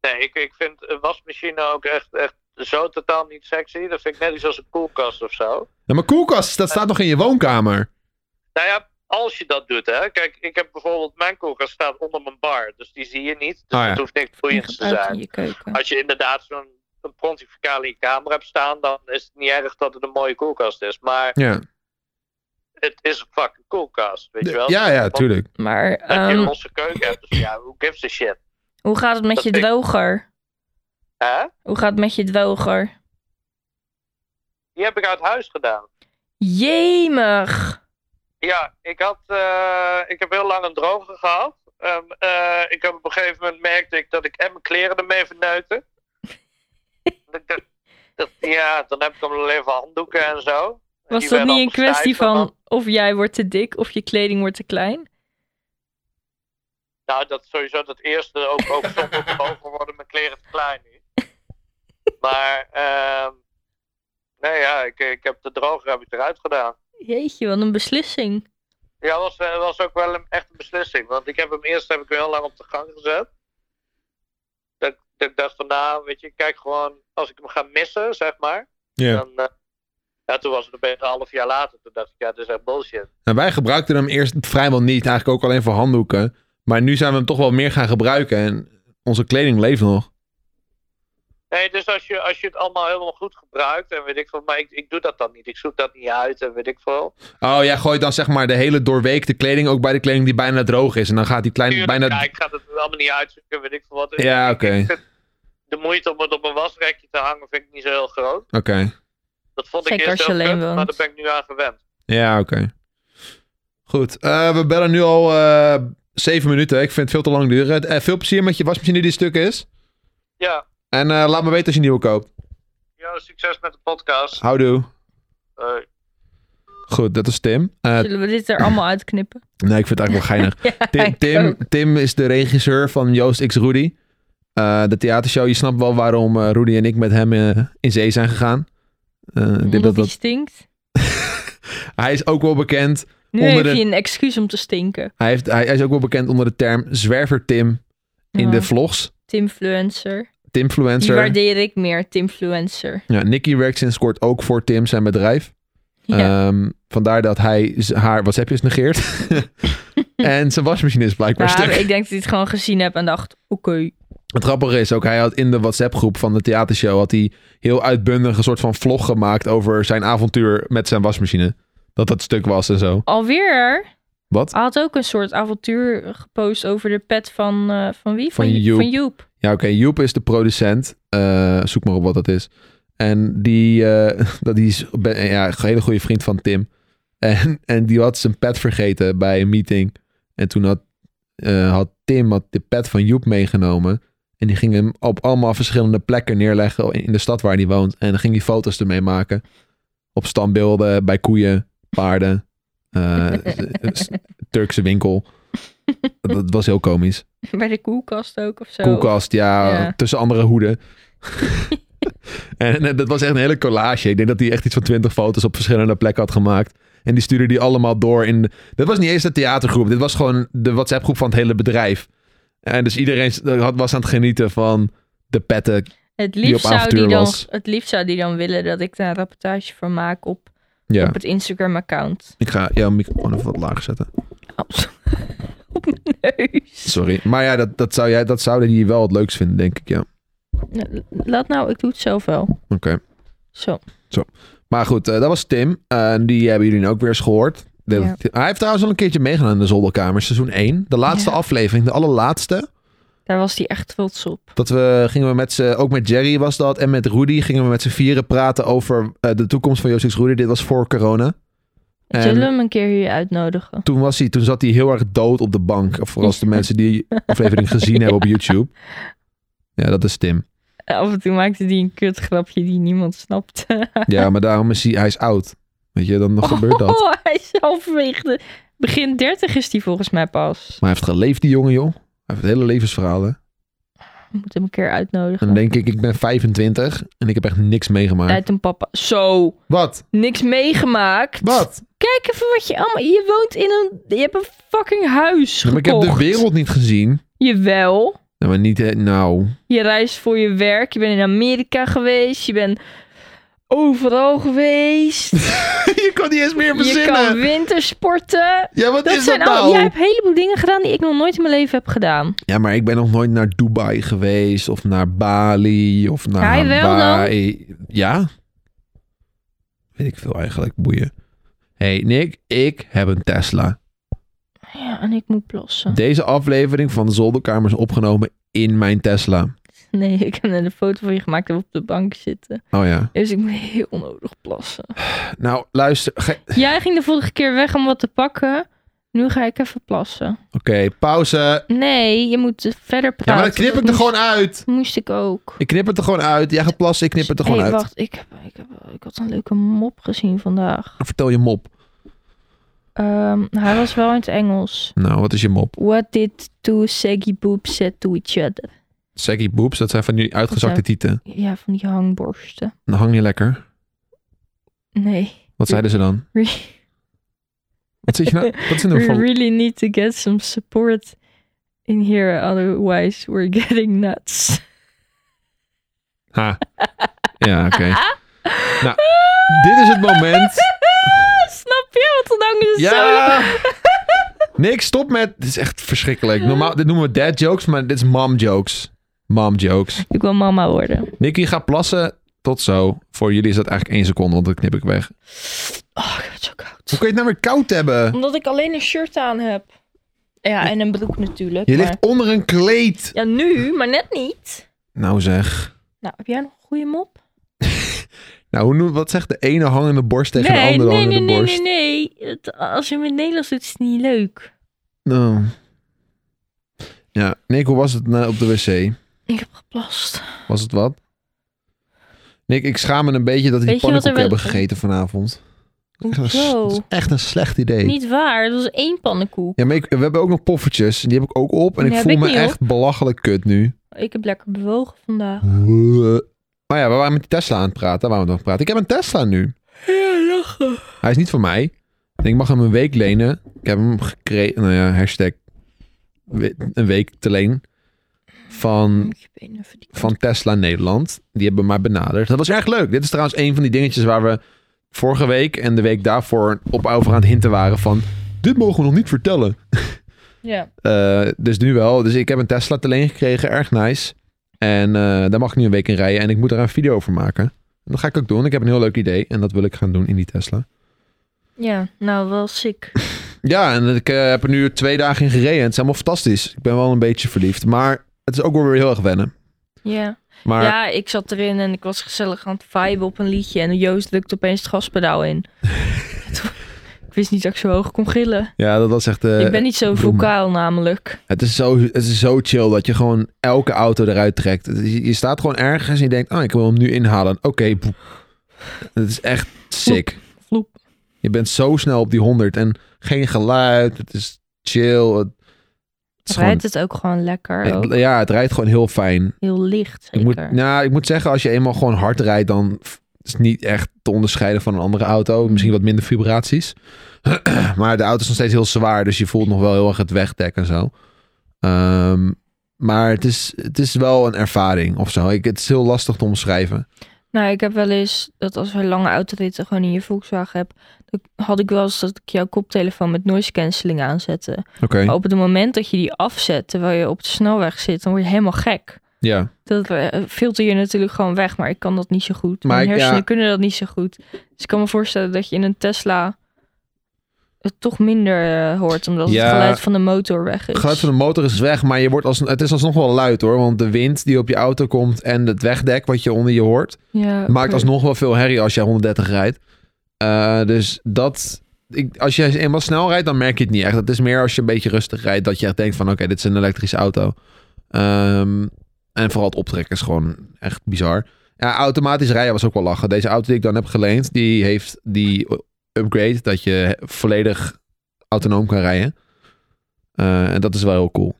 [SPEAKER 3] Nee, ik, ik vind een wasmachine ook echt, echt zo totaal niet sexy. Dat vind ik net iets als een koelkast of zo.
[SPEAKER 2] Ja, maar koelkast, dat staat nog in je woonkamer.
[SPEAKER 3] Nou ja, als je dat doet, hè. Kijk, ik heb bijvoorbeeld mijn koelkast staat onder mijn bar. Dus die zie je niet. Dus
[SPEAKER 2] Oh ja.
[SPEAKER 3] het hoeft niks boeiends te
[SPEAKER 1] Uit in
[SPEAKER 3] zijn.
[SPEAKER 1] je keuken.
[SPEAKER 3] Als je inderdaad zo'n een pontificale in je kamer hebt staan, dan is het niet erg dat het een mooie koelkast is. Maar
[SPEAKER 2] Ja,
[SPEAKER 3] het is een fucking koelkast, weet je wel?
[SPEAKER 2] ja, ja tuurlijk.
[SPEAKER 1] Maar
[SPEAKER 3] Dat je
[SPEAKER 1] ehm,
[SPEAKER 3] een losse keuken hebt, dus ja, who gives a shit?
[SPEAKER 1] hoe gaat het met
[SPEAKER 3] dat
[SPEAKER 1] je
[SPEAKER 3] ik-
[SPEAKER 1] droger?
[SPEAKER 3] Hè?
[SPEAKER 1] Hoe gaat het met je droger?
[SPEAKER 3] Die heb ik uit huis gedaan.
[SPEAKER 1] Jemig!
[SPEAKER 3] Ja, ik, had, eh, ik heb heel lang een droger gehad. Ehm, eh, ik heb op een gegeven moment merkte ik dat ik en mijn kleren ermee verneutte. dat, ik dacht, dat, ja, dan heb ik hem alleen voor handdoeken en zo. En
[SPEAKER 1] Was
[SPEAKER 3] die
[SPEAKER 1] dat
[SPEAKER 3] werden
[SPEAKER 1] niet een
[SPEAKER 3] allemaal
[SPEAKER 1] kwestie
[SPEAKER 3] stijf en dan-
[SPEAKER 1] van of jij wordt te dik of je kleding wordt te klein?
[SPEAKER 3] Nou, dat is sowieso dat eerste. Ook, ook zonder te boven worden mijn kleren te klein nu. Maar, ehm nee ja, ik, ik heb de droger heb ik eruit gedaan.
[SPEAKER 1] Jeetje, wat een beslissing.
[SPEAKER 3] Ja, was, eh, was ook wel een, echt een beslissing. Want ik heb hem eerst heb ik hem heel lang op de gang gezet. Dat, dat ik dacht van, nou, weet je, kijk gewoon, als ik hem ga missen, zeg maar.
[SPEAKER 2] Ja.
[SPEAKER 3] Dan, eh, ja, toen was het opeens een half jaar later. Toen dacht ik, ja, dit is echt bullshit.
[SPEAKER 2] Nou, wij gebruikten hem eerst vrijwel niet, eigenlijk ook alleen voor handdoeken. Maar nu zijn we hem toch wel meer gaan gebruiken en onze kleding leeft nog.
[SPEAKER 3] Nee, dus als je, als je het allemaal helemaal goed gebruikt en weet ik veel, maar ik, ik doe dat dan niet. Ik zoek dat niet uit en weet ik veel.
[SPEAKER 2] Oh, jij gooit dan zeg maar de hele doorweekte kleding ook bij de kleding die bijna droog is. En dan gaat die klein,
[SPEAKER 3] Tuurlijk,
[SPEAKER 2] bijna...
[SPEAKER 3] Ja, ik ga het allemaal niet uitzoeken, weet ik veel wat.
[SPEAKER 2] Ja,
[SPEAKER 3] Ik-
[SPEAKER 2] oké.
[SPEAKER 3] ik vind De moeite om het op een wasrekje te hangen vind ik niet zo heel groot.
[SPEAKER 2] Oké.
[SPEAKER 3] Dat vond ik
[SPEAKER 1] Zeker
[SPEAKER 3] eerst
[SPEAKER 1] als je
[SPEAKER 3] heel
[SPEAKER 1] alleen
[SPEAKER 3] kut, maar
[SPEAKER 1] woont.
[SPEAKER 3] daar ben ik nu aan gewend.
[SPEAKER 2] Ja, oké. Goed. Eh, we bellen nu al eh, zeven minuten. Ik vind het veel te lang duren. Eh, veel plezier met je wasmachine die stuk is.
[SPEAKER 3] Ja,
[SPEAKER 2] En eh, laat me weten als je een nieuwe koopt.
[SPEAKER 3] ja succes met de podcast.
[SPEAKER 2] Houdoe.
[SPEAKER 3] Eh,
[SPEAKER 2] Goed, dat is Tim. Eh,
[SPEAKER 1] Zullen we dit er allemaal uitknippen?
[SPEAKER 2] nee, ik vind het eigenlijk wel geinig.
[SPEAKER 1] Ja,
[SPEAKER 2] Tim,
[SPEAKER 1] ik
[SPEAKER 2] Tim,
[SPEAKER 1] ook.
[SPEAKER 2] Tim is de regisseur van Joost X Rudy. Eh, de theatershow. Je snapt wel waarom eh, Rudy en ik met hem eh, in zee zijn gegaan. Eh, ik denk
[SPEAKER 1] Omdat
[SPEAKER 2] dat
[SPEAKER 1] hij
[SPEAKER 2] dat-
[SPEAKER 1] stinkt.
[SPEAKER 2] Hij is ook wel bekend
[SPEAKER 1] Nu
[SPEAKER 2] onder
[SPEAKER 1] heb
[SPEAKER 2] de-
[SPEAKER 1] je een excuus om te stinken.
[SPEAKER 2] Hij, heeft, hij, hij is ook wel bekend onder de term zwerver Tim in
[SPEAKER 1] Ja.
[SPEAKER 2] de vlogs.
[SPEAKER 1] Timfluencer. Die
[SPEAKER 2] Timfluencer.
[SPEAKER 1] waardeer ik meer, Timfluencer.
[SPEAKER 2] Ja, Nicky werkt sinds kort ook voor Tim zijn bedrijf.
[SPEAKER 1] Ja.
[SPEAKER 2] Ehm, vandaar dat hij z- haar WhatsAppjes negeert. en zijn wasmachine is blijkbaar
[SPEAKER 1] Ja,
[SPEAKER 2] stuk.
[SPEAKER 1] ik denk dat hij het gewoon gezien heb en dacht, oké.
[SPEAKER 2] Het grappige is ook, hij had in de WhatsApp-groep van de theatershow... had hij heel uitbundig een soort van vlog gemaakt... over zijn avontuur met zijn wasmachine. Dat dat stuk was en zo.
[SPEAKER 1] Alweer.
[SPEAKER 2] Wat?
[SPEAKER 1] Hij had ook een soort avontuur gepost over de pet van, eh, van wie?
[SPEAKER 2] Van Joep.
[SPEAKER 1] Van Joep.
[SPEAKER 2] Ja, oké. Joep is de producent. Eh, zoek maar op wat dat is. En die, eh, dat die is ben- ja, een hele goede vriend van Tim. En, en die had zijn pet vergeten bij een meeting. En toen had, eh, had Tim had de pet van Joep meegenomen. En die ging hem op allemaal verschillende plekken neerleggen in in de stad waar hij woont. En dan ging hij foto's ermee maken. Op standbeelden, bij koeien, paarden, eh, s- Turkse winkel. Dat was heel komisch.
[SPEAKER 1] Bij de koelkast ook of zo.
[SPEAKER 2] Koelkast, ja,
[SPEAKER 1] Ja.
[SPEAKER 2] tussen andere hoeden. en, eh, dat was echt een hele collage. Ik denk dat hij echt iets van twintig foto's op verschillende plekken had gemaakt. En die stuurde die allemaal door in... Dit was niet eens de theatergroep. Dit was gewoon de WhatsApp-groep van het hele bedrijf. En dus iedereen s- had, was aan het genieten van de petten.
[SPEAKER 1] Het
[SPEAKER 2] op
[SPEAKER 1] liefst, zou die
[SPEAKER 2] avontuur
[SPEAKER 1] dan,
[SPEAKER 2] was.
[SPEAKER 1] het liefst zou die dan willen dat ik daar een rapportage van maak op,
[SPEAKER 2] Ja,
[SPEAKER 1] op het Instagram-account.
[SPEAKER 2] ik ga jouw microfoon even wat laag zetten.
[SPEAKER 1] Oh, zo- op mijn neus.
[SPEAKER 2] Sorry. Maar ja, dat, dat zou jij dat zouden die wel het leukst vinden, denk ik, ja. Oké.
[SPEAKER 1] Nou, Laat nou, ik doe het zelf wel. Zo.
[SPEAKER 2] Maar goed, eh, dat was Tim. Eh, die hebben jullie nu ook weer eens gehoord. De-
[SPEAKER 1] Ja.
[SPEAKER 2] Hij heeft trouwens al een keertje meegedaan in de zolderkamer, seizoen 1. De laatste
[SPEAKER 1] Ja.
[SPEAKER 2] aflevering, de allerlaatste.
[SPEAKER 1] Daar was die echt trots op.
[SPEAKER 2] Dat we gingen we met ze, ook met Jerry was dat, en met Rudy gingen we met z'n vieren praten over eh, de toekomst van Josix Rudy. Dit was voor corona. En-
[SPEAKER 1] Zullen we hem een keer hier uitnodigen?
[SPEAKER 2] Toen, was hij, toen zat hij heel erg dood op de bank. Of voor als de mensen die aflevering gezien hebben op YouTube. Ja, dat is Tim.
[SPEAKER 1] Af en toe maakte die een kutgrapje die niemand snapte.
[SPEAKER 2] Ja, maar daarom is hij, hij is oud. Weet je, dan gebeurt dat.
[SPEAKER 1] Oh, hij is halverwege de... Begin 30 is die volgens mij pas.
[SPEAKER 2] Maar hij heeft geleefd, die jongen, joh. Hij heeft hele levensverhalen.
[SPEAKER 1] We moeten hem een keer
[SPEAKER 2] En
[SPEAKER 1] uitnodigen.
[SPEAKER 2] dan denk ik, ik ben 25 en ik heb echt niks meegemaakt.
[SPEAKER 1] Tijd een papa. Zo,
[SPEAKER 2] Wat?
[SPEAKER 1] niks meegemaakt.
[SPEAKER 2] Wat?
[SPEAKER 1] Kijk even wat je allemaal... Je woont in een... Je hebt een fucking huis
[SPEAKER 2] Maar ik
[SPEAKER 1] gekocht.
[SPEAKER 2] heb de wereld niet gezien.
[SPEAKER 1] Jawel.
[SPEAKER 2] Nou, maar niet, eh, nou.
[SPEAKER 1] Je reist voor je werk. Je bent in Amerika geweest. Je bent overal geweest.
[SPEAKER 2] je kan niet eens meer
[SPEAKER 1] je kan wintersporten.
[SPEAKER 2] Ja, wat nou?
[SPEAKER 1] Dat zijn al... Jij hebt een heleboel dingen gedaan die ik nog nooit in mijn leven heb gedaan.
[SPEAKER 2] Ja, maar ik ben nog nooit naar Dubai geweest of naar Bali of naar
[SPEAKER 1] Ga je wel dan?
[SPEAKER 2] Hawaii. Ja? Weet ik veel eigenlijk, boeien. hey, Nick, ik heb een Tesla.
[SPEAKER 1] Ja, en ik moet plassen.
[SPEAKER 2] Deze aflevering van de zolderkamer is opgenomen in mijn Tesla.
[SPEAKER 1] Nee, ik heb net een foto van je gemaakt dat we op de bank zitten.
[SPEAKER 2] Oh ja.
[SPEAKER 1] Dus ik moet heel onnodig plassen.
[SPEAKER 2] Nou, luister. ge-
[SPEAKER 1] Jij ging de vorige keer weg om wat te pakken. Nu ga ik even plassen.
[SPEAKER 2] Oké, pauze.
[SPEAKER 1] Nee, je moet verder praten.
[SPEAKER 2] Ja, maar dan knip ik
[SPEAKER 1] Dat
[SPEAKER 2] er gewoon
[SPEAKER 1] moest-
[SPEAKER 2] uit.
[SPEAKER 1] Moest ik ook. Dus-
[SPEAKER 2] Ik knip het er gewoon uit. Jij gaat plassen, ik knip het er gewoon
[SPEAKER 1] hey,
[SPEAKER 2] uit.
[SPEAKER 1] wacht. Ik, heb, ik, heb, ik had een leuke mop gezien vandaag.
[SPEAKER 2] Vertel je mop.
[SPEAKER 1] Ehm, hij was wel in het Engels.
[SPEAKER 2] Nou, wat is je mop?
[SPEAKER 1] What did two saggy boobs said to each other?
[SPEAKER 2] Saggy boobs, dat zijn van die uitgezakte
[SPEAKER 1] Wat
[SPEAKER 2] tieten.
[SPEAKER 1] Ja, van die hangborsten.
[SPEAKER 2] Dan hang je lekker.
[SPEAKER 1] Nee.
[SPEAKER 2] Wat zeiden ze dan?
[SPEAKER 1] We
[SPEAKER 2] Wat zit je nou? Wat is er nou
[SPEAKER 1] we
[SPEAKER 2] van?
[SPEAKER 1] really need to get some support in here, otherwise we're getting nuts.
[SPEAKER 2] Ha. Ja, oké. Nou, dit is het moment.
[SPEAKER 1] Snap je wat er dan is?
[SPEAKER 2] Ja! Nick, stop met. Dit is echt verschrikkelijk. Normaal, dit noemen we dad jokes, maar dit is mom jokes. Mom jokes.
[SPEAKER 1] Ik wil mama worden.
[SPEAKER 2] Nicky gaat plassen. Tot zo. Voor jullie is dat eigenlijk één seconde, want dan knip ik weg.
[SPEAKER 1] Oh, ik heb het zo koud.
[SPEAKER 2] Hoe kun je het nou weer koud hebben?
[SPEAKER 1] Omdat ik alleen een shirt aan heb. Ja, en een broek natuurlijk.
[SPEAKER 2] Je
[SPEAKER 1] maar-
[SPEAKER 2] ligt onder een kleed.
[SPEAKER 1] Ja, nu, maar net niet.
[SPEAKER 2] Nou zeg.
[SPEAKER 1] Nou, heb jij nog een goede mop?
[SPEAKER 2] Nou, hoe noem- wat zegt de ene hangende borst tegen de
[SPEAKER 1] nee,
[SPEAKER 2] andere
[SPEAKER 1] nee, nee,
[SPEAKER 2] hangende
[SPEAKER 1] nee,
[SPEAKER 2] borst?
[SPEAKER 1] nee, nee. Het- als je hem in het Nederlands doet, is het niet leuk.
[SPEAKER 2] Nou. Ja, Nick, hoe was het nou op de wc?
[SPEAKER 1] Ik heb geplast.
[SPEAKER 2] Was het wat? Nick, ik schaam me een beetje dat we die
[SPEAKER 1] Weet je wat er
[SPEAKER 2] pannenkoeken hebben
[SPEAKER 1] wel-
[SPEAKER 2] gegeten vanavond. Dat is,
[SPEAKER 1] Hoezo?
[SPEAKER 2] dat is echt een slecht idee.
[SPEAKER 1] Niet waar, het was één pannenkoek.
[SPEAKER 2] Ja, maar ik- we hebben ook nog poffertjes. Die heb ik ook op. En
[SPEAKER 1] Die
[SPEAKER 2] ik
[SPEAKER 1] heb
[SPEAKER 2] voel
[SPEAKER 1] ik
[SPEAKER 2] me
[SPEAKER 1] niet
[SPEAKER 2] echt belachelijk kut nu.
[SPEAKER 1] Ik heb lekker bewogen vandaag.
[SPEAKER 2] Maar Oh ja, we waren met die Tesla aan het praten. Daar waren we nog aan het praten. Ik heb een Tesla nu.
[SPEAKER 1] Ja, lachen.
[SPEAKER 2] Hij is niet van mij. En ik mag hem een week lenen. Ik heb hem gekregen. Nou ja, hashtag we- een week te leen. Van,
[SPEAKER 1] Moet je benen even die
[SPEAKER 2] Hm. van Tesla Nederland. Die hebben mij benaderd. Dat was erg leuk. Dit is trouwens een van die dingetjes waar we vorige week en de week daarvoor op over aan het hinten waren van... Dit mogen we nog niet vertellen.
[SPEAKER 1] Ja.
[SPEAKER 2] Eh, dus nu wel. Dus ik heb een Tesla te leen gekregen. Erg nice. En eh, daar mag ik nu een week in rijden. En ik moet daar een video over maken. En dat ga ik ook doen. Ik heb een heel leuk idee. En dat wil ik gaan doen in die Tesla.
[SPEAKER 1] Ja, nou wel sick.
[SPEAKER 2] Ja, en ik eh, heb er nu twee dagen in gereden. Het is helemaal fantastisch. Ik ben wel een beetje verliefd. Maar het is ook wel weer heel erg wennen.
[SPEAKER 1] Ja.
[SPEAKER 2] Maar
[SPEAKER 1] ja, ik zat erin en ik was gezellig aan het viben op een liedje. En Joost drukte opeens het gaspedaal in. ik wist niet dat ik zo hoog kon gillen.
[SPEAKER 2] ja, dat was echt... eh,
[SPEAKER 1] ik ben niet zo
[SPEAKER 2] bloemen.
[SPEAKER 1] vocaal namelijk.
[SPEAKER 2] Het is, zo, het is zo chill dat je gewoon elke auto eruit trekt. Het is- Je staat gewoon ergens en je denkt, ah, ik wil hem nu inhalen. Oké, boep. Het is echt sick.
[SPEAKER 1] Vloep.
[SPEAKER 2] Je bent zo snel op die 100 en geen geluid. Het is chill. Het, het is gewoon,
[SPEAKER 1] Rijdt het ook gewoon lekker. Ook.
[SPEAKER 2] het- ja, het rijdt gewoon heel fijn.
[SPEAKER 1] Heel licht
[SPEAKER 2] Ik moet,
[SPEAKER 1] zeker.
[SPEAKER 2] nou, ik moet zeggen, als je eenmaal gewoon hard rijdt, dan f- is het niet echt te onderscheiden van een andere auto. Misschien wat minder vibraties. maar de auto is nog steeds heel zwaar, dus je voelt nog wel heel erg het wegdek en zo. Ehm, maar het is, het is wel een ervaring of zo. Ik, het is heel lastig te omschrijven.
[SPEAKER 1] Nou, ik heb wel eens dat als we lange autoritten gewoon in je Volkswagen hebt, dan had ik wel eens dat ik jouw koptelefoon met noise cancelling aanzette.
[SPEAKER 2] Oké,
[SPEAKER 1] Maar op het moment dat je die afzet terwijl je op de snelweg zit, dan word je helemaal gek.
[SPEAKER 2] ja.
[SPEAKER 1] Dat eh, filter je natuurlijk gewoon weg, maar ik kan dat niet zo goed.
[SPEAKER 2] Maar
[SPEAKER 1] Mijn
[SPEAKER 2] ik- ja.
[SPEAKER 1] hersenen kunnen dat niet zo goed. Dus ik kan me voorstellen dat je in een Tesla het toch minder eh, hoort, omdat
[SPEAKER 2] Ja.
[SPEAKER 1] het geluid van de motor weg is.
[SPEAKER 2] Het geluid van de motor is weg, maar je wordt als, het is alsnog wel luid hoor. Want de wind die op je auto komt en het wegdek wat je onder je hoort,
[SPEAKER 1] ja,
[SPEAKER 2] maakt alsnog wel veel herrie als jij 130 rijdt. Eh, dus dat... Ik, als je eenmaal snel rijdt, dan merk je het niet echt. Het is meer als je een beetje rustig rijdt... dat je echt denkt van... oké, dit is een elektrische auto. Ehm, en vooral het optrekken is gewoon echt bizar. Ja, automatisch rijden was ook wel lachen. Deze auto die ik dan heb geleend... die heeft die upgrade... dat je volledig autonoom kan rijden. Eh, en dat is wel heel cool.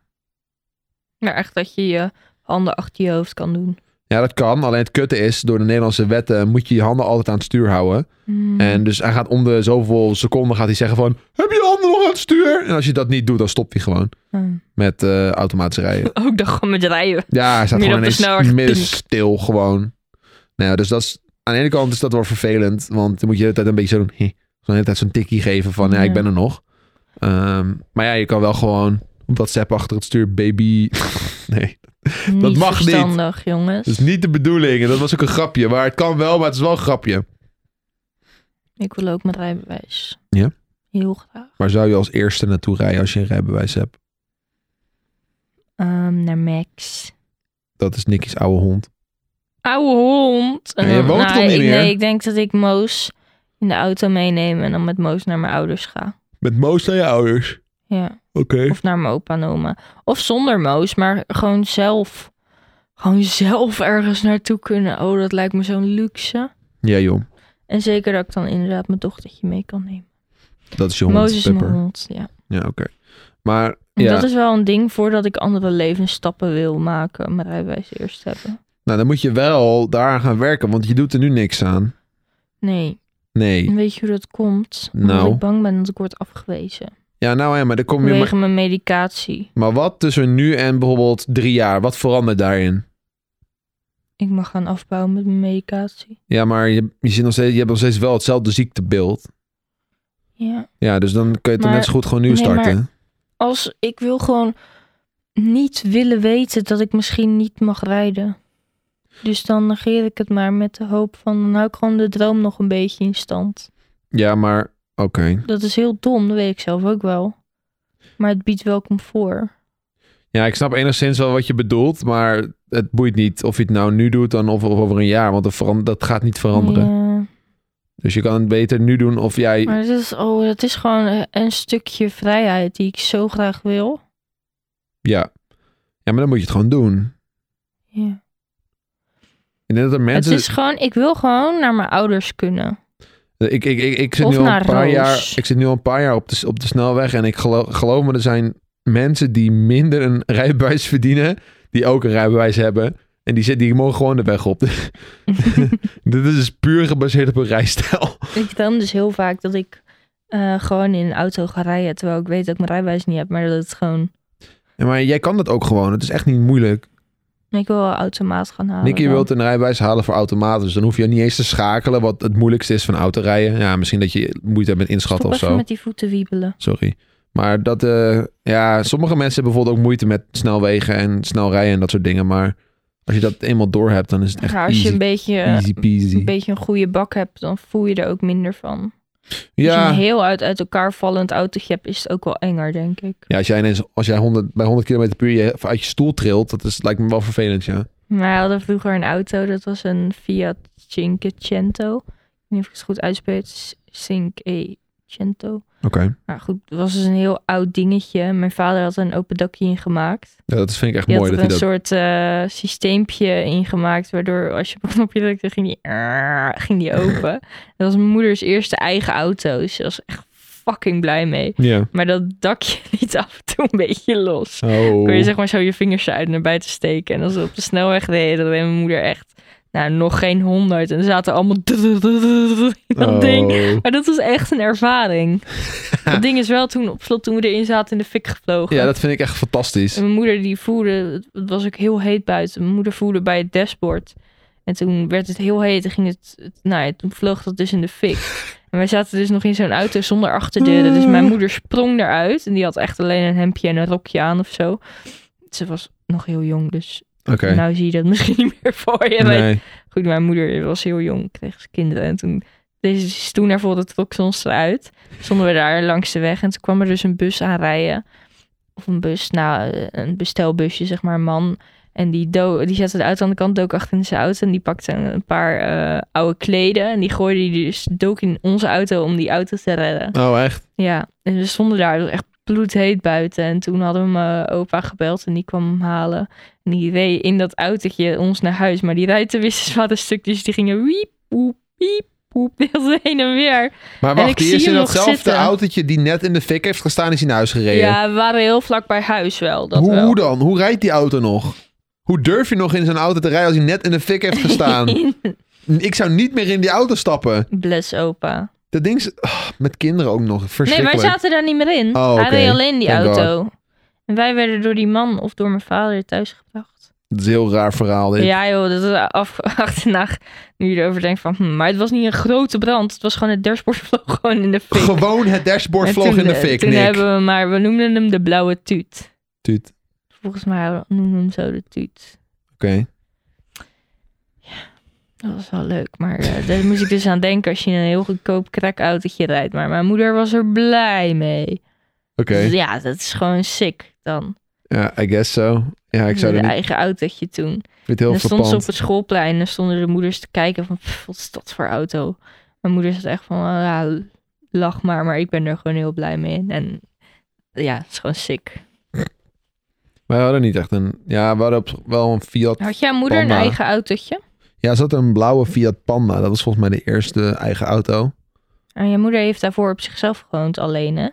[SPEAKER 1] Maar echt dat je je handen achter je hoofd kan doen.
[SPEAKER 2] Ja, dat kan. Alleen het kutte is... door de Nederlandse wetten... moet je je handen altijd aan het stuur houden...
[SPEAKER 1] Hmm.
[SPEAKER 2] En dus hij gaat om de zoveel seconden gaat hij zeggen van... Heb je handen nog aan het stuur? En als je dat niet doet, dan stopt hij gewoon
[SPEAKER 1] Hmm.
[SPEAKER 2] met eh automatisch rijden.
[SPEAKER 1] Ook dat gewoon met rijden.
[SPEAKER 2] Ja, hij staat
[SPEAKER 1] Midden
[SPEAKER 2] gewoon
[SPEAKER 1] op de
[SPEAKER 2] ineens
[SPEAKER 1] snelweg,
[SPEAKER 2] midden
[SPEAKER 1] pink.
[SPEAKER 2] stil gewoon. Nou ja, dus dat is... Aan de ene kant is dat wel vervelend, want dan moet je de hele tijd een beetje zo doen... "Heh." Zo'n hele tijd zo'n tikkie geven van, ja, ik
[SPEAKER 1] Ja.
[SPEAKER 2] ben er nog. Ehm, maar ja, je kan wel gewoon op WhatsApp achter het stuur, baby... nee,
[SPEAKER 1] niet
[SPEAKER 2] mag niet. Dus-
[SPEAKER 1] verstandig, jongens.
[SPEAKER 2] dat is niet de bedoeling. En dat was ook een grapje, maar het kan wel, maar het is wel een grapje.
[SPEAKER 1] Ik wil ook mijn rijbewijs.
[SPEAKER 2] Ja?
[SPEAKER 1] Heel graag.
[SPEAKER 2] Waar zou je als eerste naartoe rijden als je een rijbewijs hebt?
[SPEAKER 1] Ehm, naar Max.
[SPEAKER 2] Dat is Nicky's oude hond.
[SPEAKER 1] Oude hond. En
[SPEAKER 2] Ja, je
[SPEAKER 1] dan-
[SPEAKER 2] woont toch niet
[SPEAKER 1] ik,
[SPEAKER 2] meer?
[SPEAKER 1] Nee, ik denk dat ik Moos in de auto meeneem en dan met Moos naar mijn ouders ga.
[SPEAKER 2] Met Moos naar je ouders.
[SPEAKER 1] Ja.
[SPEAKER 2] Oké.
[SPEAKER 1] Of naar mijn opa en oma. Of zonder Moos, maar gewoon zelf. Gewoon zelf ergens naartoe kunnen. Oh, dat lijkt me zo'n luxe.
[SPEAKER 2] Ja, joh.
[SPEAKER 1] En zeker dat ik dan inderdaad mijn dochtertje mee kan nemen.
[SPEAKER 2] Dat is je hond,
[SPEAKER 1] Moos is mijn
[SPEAKER 2] Pepper.
[SPEAKER 1] hond, ja.
[SPEAKER 2] Ja, oké. Maar
[SPEAKER 1] En
[SPEAKER 2] ja,
[SPEAKER 1] Dat is wel een ding voordat ik andere levensstappen wil maken. Mijn rijbewijs eerst hebben.
[SPEAKER 2] nou, dan moet je wel daaraan gaan werken, want je doet er nu niks aan.
[SPEAKER 1] Nee.
[SPEAKER 2] Nee.
[SPEAKER 1] En weet je hoe dat komt?
[SPEAKER 2] Nou.
[SPEAKER 1] Omdat ik bang ben dat ik word afgewezen.
[SPEAKER 2] Ja, nou ja, maar dan kom je... Maar,
[SPEAKER 1] Vanwege mijn medicatie.
[SPEAKER 2] maar wat tussen nu en bijvoorbeeld drie jaar? Wat verandert daarin?
[SPEAKER 1] Ik mag gaan afbouwen met mijn medicatie.
[SPEAKER 2] Ja, maar je, je, zit nog steeds, je hebt nog steeds wel hetzelfde ziektebeeld.
[SPEAKER 1] Ja.
[SPEAKER 2] Ja, dus dan kun je het dan
[SPEAKER 1] Maar-
[SPEAKER 2] net zo goed gewoon nieuw
[SPEAKER 1] nee, maar-
[SPEAKER 2] starten.
[SPEAKER 1] Als ik wil gewoon niet willen weten dat ik misschien niet mag rijden. Dus dan negeer ik het maar met de hoop van dan hou ik gewoon de droom nog een beetje in stand.
[SPEAKER 2] Ja, maar... Oké.
[SPEAKER 1] Dat is heel dom, dat weet ik zelf ook wel. Maar het biedt wel comfort.
[SPEAKER 2] Ja, ik snap enigszins wel wat je bedoelt, maar het boeit niet of je het nou nu doet dan of, of over een jaar, want dat, veran- dat gaat niet veranderen.
[SPEAKER 1] Ja,
[SPEAKER 2] Dus je kan het beter nu doen of jij...
[SPEAKER 1] maar het is, oh, dat is gewoon een stukje vrijheid die ik zo graag wil.
[SPEAKER 2] Ja. ja, maar dan moet je het gewoon doen.
[SPEAKER 1] Ja.
[SPEAKER 2] Ik denk dat er
[SPEAKER 1] Het
[SPEAKER 2] mensen...
[SPEAKER 1] is gewoon, ik wil gewoon naar mijn ouders kunnen.
[SPEAKER 2] Ik, ik, ik, ik, zit
[SPEAKER 1] Of
[SPEAKER 2] nu al een
[SPEAKER 1] naar
[SPEAKER 2] paar
[SPEAKER 1] Roos.
[SPEAKER 2] jaar, ik zit nu al een paar jaar op de, s- op de snelweg en ik gelo- geloof me, er zijn mensen die minder een rijbewijs verdienen, die ook een rijbewijs hebben. En die, zit, die mogen gewoon de weg op. Dit is puur gebaseerd op een rijstijl.
[SPEAKER 1] Ik vertel dus heel vaak dat ik eh, gewoon in een auto ga rijden. Terwijl ik weet dat ik mijn rijbewijs niet heb. Maar dat het gewoon...
[SPEAKER 2] Ja, maar jij kan dat ook gewoon. Het is echt niet moeilijk.
[SPEAKER 1] Ik wil wel automaat gaan halen.
[SPEAKER 2] Nicky
[SPEAKER 1] Oh, dan.
[SPEAKER 2] wilt een rijbewijs halen voor automaten. Dus dan hoef je niet eens te schakelen wat het moeilijkste is van autorijden. Ja, misschien dat je moeite hebt met inschatten
[SPEAKER 1] Stop
[SPEAKER 2] of
[SPEAKER 1] even
[SPEAKER 2] zo.
[SPEAKER 1] met die voeten wiebelen.
[SPEAKER 2] Sorry. Maar dat, eh, ja, sommige mensen hebben bijvoorbeeld ook moeite met snelwegen en snel rijden en dat soort dingen. Maar Als je dat eenmaal door hebt, dan is het echt
[SPEAKER 1] Ja, als je
[SPEAKER 2] easy,
[SPEAKER 1] een beetje, eh,
[SPEAKER 2] easy peasy.
[SPEAKER 1] een beetje een goede bak hebt, dan voel je er ook minder van. Als je
[SPEAKER 2] ja.
[SPEAKER 1] een heel uit, uit elkaar vallend autootje hebt, is het ook wel enger, denk ik.
[SPEAKER 2] ja, als jij ineens als jij 100, bij 100 km per uur je uit je stoel trilt, dat is, lijkt me wel vervelend, ja.
[SPEAKER 1] Maar we hadden vroeger een auto, dat was een Fiat Cinquecento. Ik weet niet of ik het goed uitspreek. Cinquecento.
[SPEAKER 2] Oké.
[SPEAKER 1] Nou goed, dat was dus een heel oud dingetje. Mijn vader had er een open dakje in gemaakt.
[SPEAKER 2] Ja, dat vind ik echt
[SPEAKER 1] Je
[SPEAKER 2] mooi.
[SPEAKER 1] had
[SPEAKER 2] Dat
[SPEAKER 1] er een
[SPEAKER 2] hij dat...
[SPEAKER 1] soort eh systeempje ingemaakt, waardoor als je op een knopje drukte, ging die, ging die open. dat was mijn moeders eerste eigen auto, dus ze was echt fucking blij mee.
[SPEAKER 2] Ja.
[SPEAKER 1] Maar dat dakje liet af en toe een beetje los.
[SPEAKER 2] Oh.
[SPEAKER 1] Kun je zeg maar zo je vingers eruit naar buiten steken. En als we op de snelweg deden, dan deed mijn moeder echt, nou nog geen honderd. En er zaten allemaal in dat ding.
[SPEAKER 2] Oh.
[SPEAKER 1] Maar dat was echt een ervaring. dat ding is wel toen op slot, toen we erin zaten, in de fik gevlogen.
[SPEAKER 2] Ja, dat vind ik echt fantastisch.
[SPEAKER 1] En mijn moeder die voerde, het- het was ook heel heet buiten. Mijn moeder voerde bij het dashboard. En toen werd het heel heet en ging het, het- nou ja, toen vloog dat dus in de fik. En wij zaten dus nog in zo'n auto zonder achterdeuren. Dus mijn moeder sprong eruit en die had echt alleen een hemdje en een rokje aan of zo. Ze was nog heel jong, dus
[SPEAKER 2] Oké.
[SPEAKER 1] nou zie je dat misschien niet meer voor je. Maar
[SPEAKER 2] Nee.
[SPEAKER 1] Goed, mijn moeder was heel jong, kreeg ze kinderen. En toen deze stoel naar voren trok ze ons eruit. Stonden we daar langs de weg en toen kwam er dus een bus aanrijden. Of een bus, nou, eh, een bestelbusje, zeg maar, een man. En die, do die zette de auto aan de kant, dook achter in zijn auto. En die pakte een, een paar eh, oude kleden. En die gooide die dus, dook in onze auto om die auto te redden.
[SPEAKER 2] Oh, echt?
[SPEAKER 1] Ja, en we stonden daar, het was echt bloedheet buiten. En toen hadden we mijn opa gebeld en die kwam hem halen. En die reed in dat autootje ons naar huis. Maar die ruiten wisten wat een stuk, dus die gingen wiep, woep, wiep, woep, de hele tijd heen en weer.
[SPEAKER 2] Maar
[SPEAKER 1] En ik
[SPEAKER 2] wacht, die
[SPEAKER 1] zie
[SPEAKER 2] is in
[SPEAKER 1] hem nog
[SPEAKER 2] datzelfde
[SPEAKER 1] zitten.
[SPEAKER 2] autootje die net in de fik heeft gestaan, is hij naar huis gereden.
[SPEAKER 1] Ja, we waren heel vlak bij huis wel, dat
[SPEAKER 2] hoe,
[SPEAKER 1] wel.
[SPEAKER 2] hoe dan? Hoe rijdt die auto nog? Hoe durf je nog in zijn auto te rijden als hij net in de fik heeft gestaan? ik zou niet meer in die auto stappen.
[SPEAKER 1] Bless opa.
[SPEAKER 2] Dat ding is... ah, met kinderen ook nog.
[SPEAKER 1] Nee, wij
[SPEAKER 2] Verschrikkelijk.
[SPEAKER 1] zaten daar niet meer in.
[SPEAKER 2] Oh,
[SPEAKER 1] Hij
[SPEAKER 2] oké.
[SPEAKER 1] reed alleen die
[SPEAKER 2] Thank
[SPEAKER 1] auto. En wij werden door die man of door mijn vader thuis gebracht.
[SPEAKER 2] Dat is een heel raar verhaal dit.
[SPEAKER 1] Ja joh, dat is af, achterna nu je erover denkt van... hm, maar het was niet een grote brand. Het was gewoon het dashboard vloog gewoon in de fik.
[SPEAKER 2] Gewoon het dashboard
[SPEAKER 1] En
[SPEAKER 2] vlog
[SPEAKER 1] toen,
[SPEAKER 2] in de
[SPEAKER 1] eh,
[SPEAKER 2] fik,
[SPEAKER 1] Toen
[SPEAKER 2] Nick.
[SPEAKER 1] hebben we maar... We noemden hem de blauwe tuut.
[SPEAKER 2] Tuut. Oké.
[SPEAKER 1] Volgens mij noemden we hem zo de tuut. Dat was wel leuk, maar eh, daar moest ik dus aan denken als je in een heel goedkoop crackautootje rijdt. Maar mijn moeder was er blij mee.
[SPEAKER 2] Oké.
[SPEAKER 1] Dus ja, dat is gewoon sick dan.
[SPEAKER 2] Ja, I guess so. Ja, ik
[SPEAKER 1] Met
[SPEAKER 2] zou er
[SPEAKER 1] een
[SPEAKER 2] niet... Ik
[SPEAKER 1] eigen autootje toen.
[SPEAKER 2] vind het
[SPEAKER 1] En
[SPEAKER 2] heel
[SPEAKER 1] dan stond ze op
[SPEAKER 2] verpand.
[SPEAKER 1] het schoolplein en dan stonden de moeders te kijken van, "Pff, wat is dat voor auto? Mijn moeder zat echt van, "Ah, ja, lach maar, maar ik ben er gewoon heel blij mee. En ja, het is gewoon sick.
[SPEAKER 2] Wij hadden niet echt een... Ja, we hadden op- wel een Fiat...
[SPEAKER 1] Had jouw moeder een
[SPEAKER 2] Panda.
[SPEAKER 1] eigen autootje?
[SPEAKER 2] Ja, ze had een blauwe Fiat Panda. Dat was volgens mij de eerste eigen auto.
[SPEAKER 1] En jouw moeder heeft daarvoor op zichzelf gewoond alleen, hè?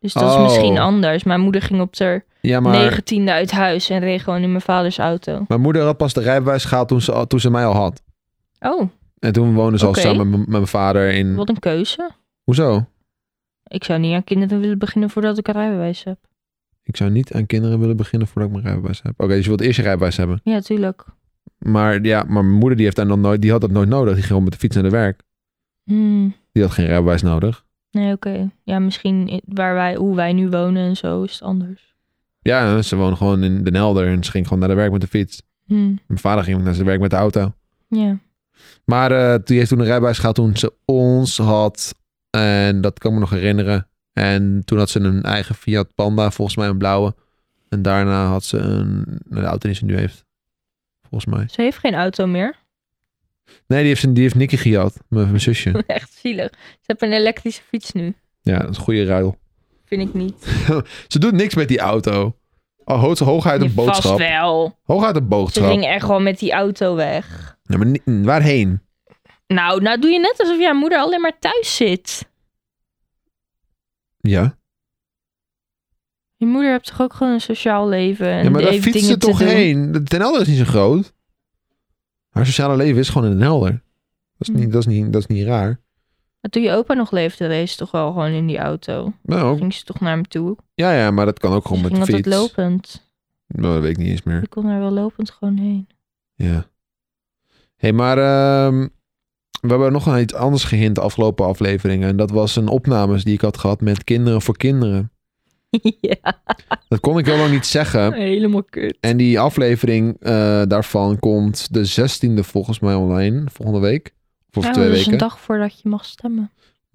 [SPEAKER 1] Dus dat
[SPEAKER 2] Oh.
[SPEAKER 1] is misschien anders. Mijn moeder ging op haar
[SPEAKER 2] Ja, maar...
[SPEAKER 1] negentiende uit huis en reed gewoon in mijn vaders auto.
[SPEAKER 2] Mijn moeder had pas de rijbewijs gehaald toen ze, al- toen ze mij al had.
[SPEAKER 1] Oh,
[SPEAKER 2] En toen woonden ze
[SPEAKER 1] Oké.
[SPEAKER 2] al samen met m- mijn vader in...
[SPEAKER 1] wat een keuze.
[SPEAKER 2] Hoezo?
[SPEAKER 1] Ik zou niet aan kinderen willen beginnen voordat ik een rijbewijs heb.
[SPEAKER 2] Ik zou niet aan kinderen willen beginnen voordat ik mijn rijbewijs heb. Oké, dus je wilt eerst je rijbewijs hebben.
[SPEAKER 1] Ja, tuurlijk.
[SPEAKER 2] Maar ja, maar mijn moeder die heeft daar nog nooit, die had dat nooit nodig. Die ging gewoon met de fiets naar de werk.
[SPEAKER 1] Hmm.
[SPEAKER 2] Die had geen rijbewijs nodig.
[SPEAKER 1] Nee, oké. Ja, misschien i- waar wij, hoe wij nu wonen en zo is het anders.
[SPEAKER 2] Ja, ze woonde gewoon in Den Helder en ze ging gewoon naar de werk met de fiets.
[SPEAKER 1] Hm,
[SPEAKER 2] Mijn vader ging naar zijn werk met de auto.
[SPEAKER 1] ja.
[SPEAKER 2] Maar eh, die heeft toen een rijbewijs gehaald toen ze ons had. En dat kan ik me nog herinneren. En toen had ze een eigen Fiat Panda, volgens mij een blauwe. En daarna had ze een, de auto die ze nu heeft. Volgens mij.
[SPEAKER 1] Ze heeft geen auto meer.
[SPEAKER 2] Nee, die heeft, ze- die heeft Nicky gejat. Mijn, mijn zusje.
[SPEAKER 1] Echt zielig. Ze heeft een elektrische fiets nu.
[SPEAKER 2] Ja, dat is een goede ruil.
[SPEAKER 1] Vind ik niet.
[SPEAKER 2] Ze doet niks met die auto. Oh, hoog, hooguit
[SPEAKER 1] Ja,
[SPEAKER 2] een
[SPEAKER 1] Vast
[SPEAKER 2] boodschap.
[SPEAKER 1] wel.
[SPEAKER 2] Hooguit een
[SPEAKER 1] Ze
[SPEAKER 2] boodschap.
[SPEAKER 1] ging echt gewoon met die auto weg.
[SPEAKER 2] Ja, maar ni- waarheen?
[SPEAKER 1] Nou, nou doe je net alsof jouw moeder alleen maar thuis zit.
[SPEAKER 2] Ja.
[SPEAKER 1] Je moeder hebt toch ook gewoon een sociaal leven. En
[SPEAKER 2] ja maar daar
[SPEAKER 1] heeft
[SPEAKER 2] fietst ze
[SPEAKER 1] dingen te
[SPEAKER 2] toch
[SPEAKER 1] doen?
[SPEAKER 2] heen? De- Den Helder is niet zo groot. Haar sociale leven is gewoon in Den Helder. Dat is
[SPEAKER 1] Hm.
[SPEAKER 2] niet, dat is niet, dat is niet raar.
[SPEAKER 1] Maar toen je opa nog leefde, reed ze toch wel gewoon in die auto.
[SPEAKER 2] Nou, ook-
[SPEAKER 1] Ging ze toch naar hem toe.
[SPEAKER 2] ja, ja, maar dat kan ook gewoon
[SPEAKER 1] Ze
[SPEAKER 2] met
[SPEAKER 1] ging
[SPEAKER 2] de
[SPEAKER 1] altijd
[SPEAKER 2] fiets.
[SPEAKER 1] lopend.
[SPEAKER 2] Nou, dat weet ik niet eens meer.
[SPEAKER 1] Ik kon daar wel lopend gewoon heen.
[SPEAKER 2] Ja. hey, maar ehm, we hebben nog aan iets anders gehint de afgelopen afleveringen. En dat was een opnames die ik had gehad met Kinderen voor Kinderen.
[SPEAKER 1] ja,
[SPEAKER 2] Dat kon ik heel lang niet zeggen.
[SPEAKER 1] helemaal kut.
[SPEAKER 2] En die aflevering eh, daarvan komt de 16e volgens mij online, volgende week. Of over
[SPEAKER 1] Ja,
[SPEAKER 2] twee
[SPEAKER 1] Oh, dat is
[SPEAKER 2] weken.
[SPEAKER 1] een dag voordat je mag stemmen.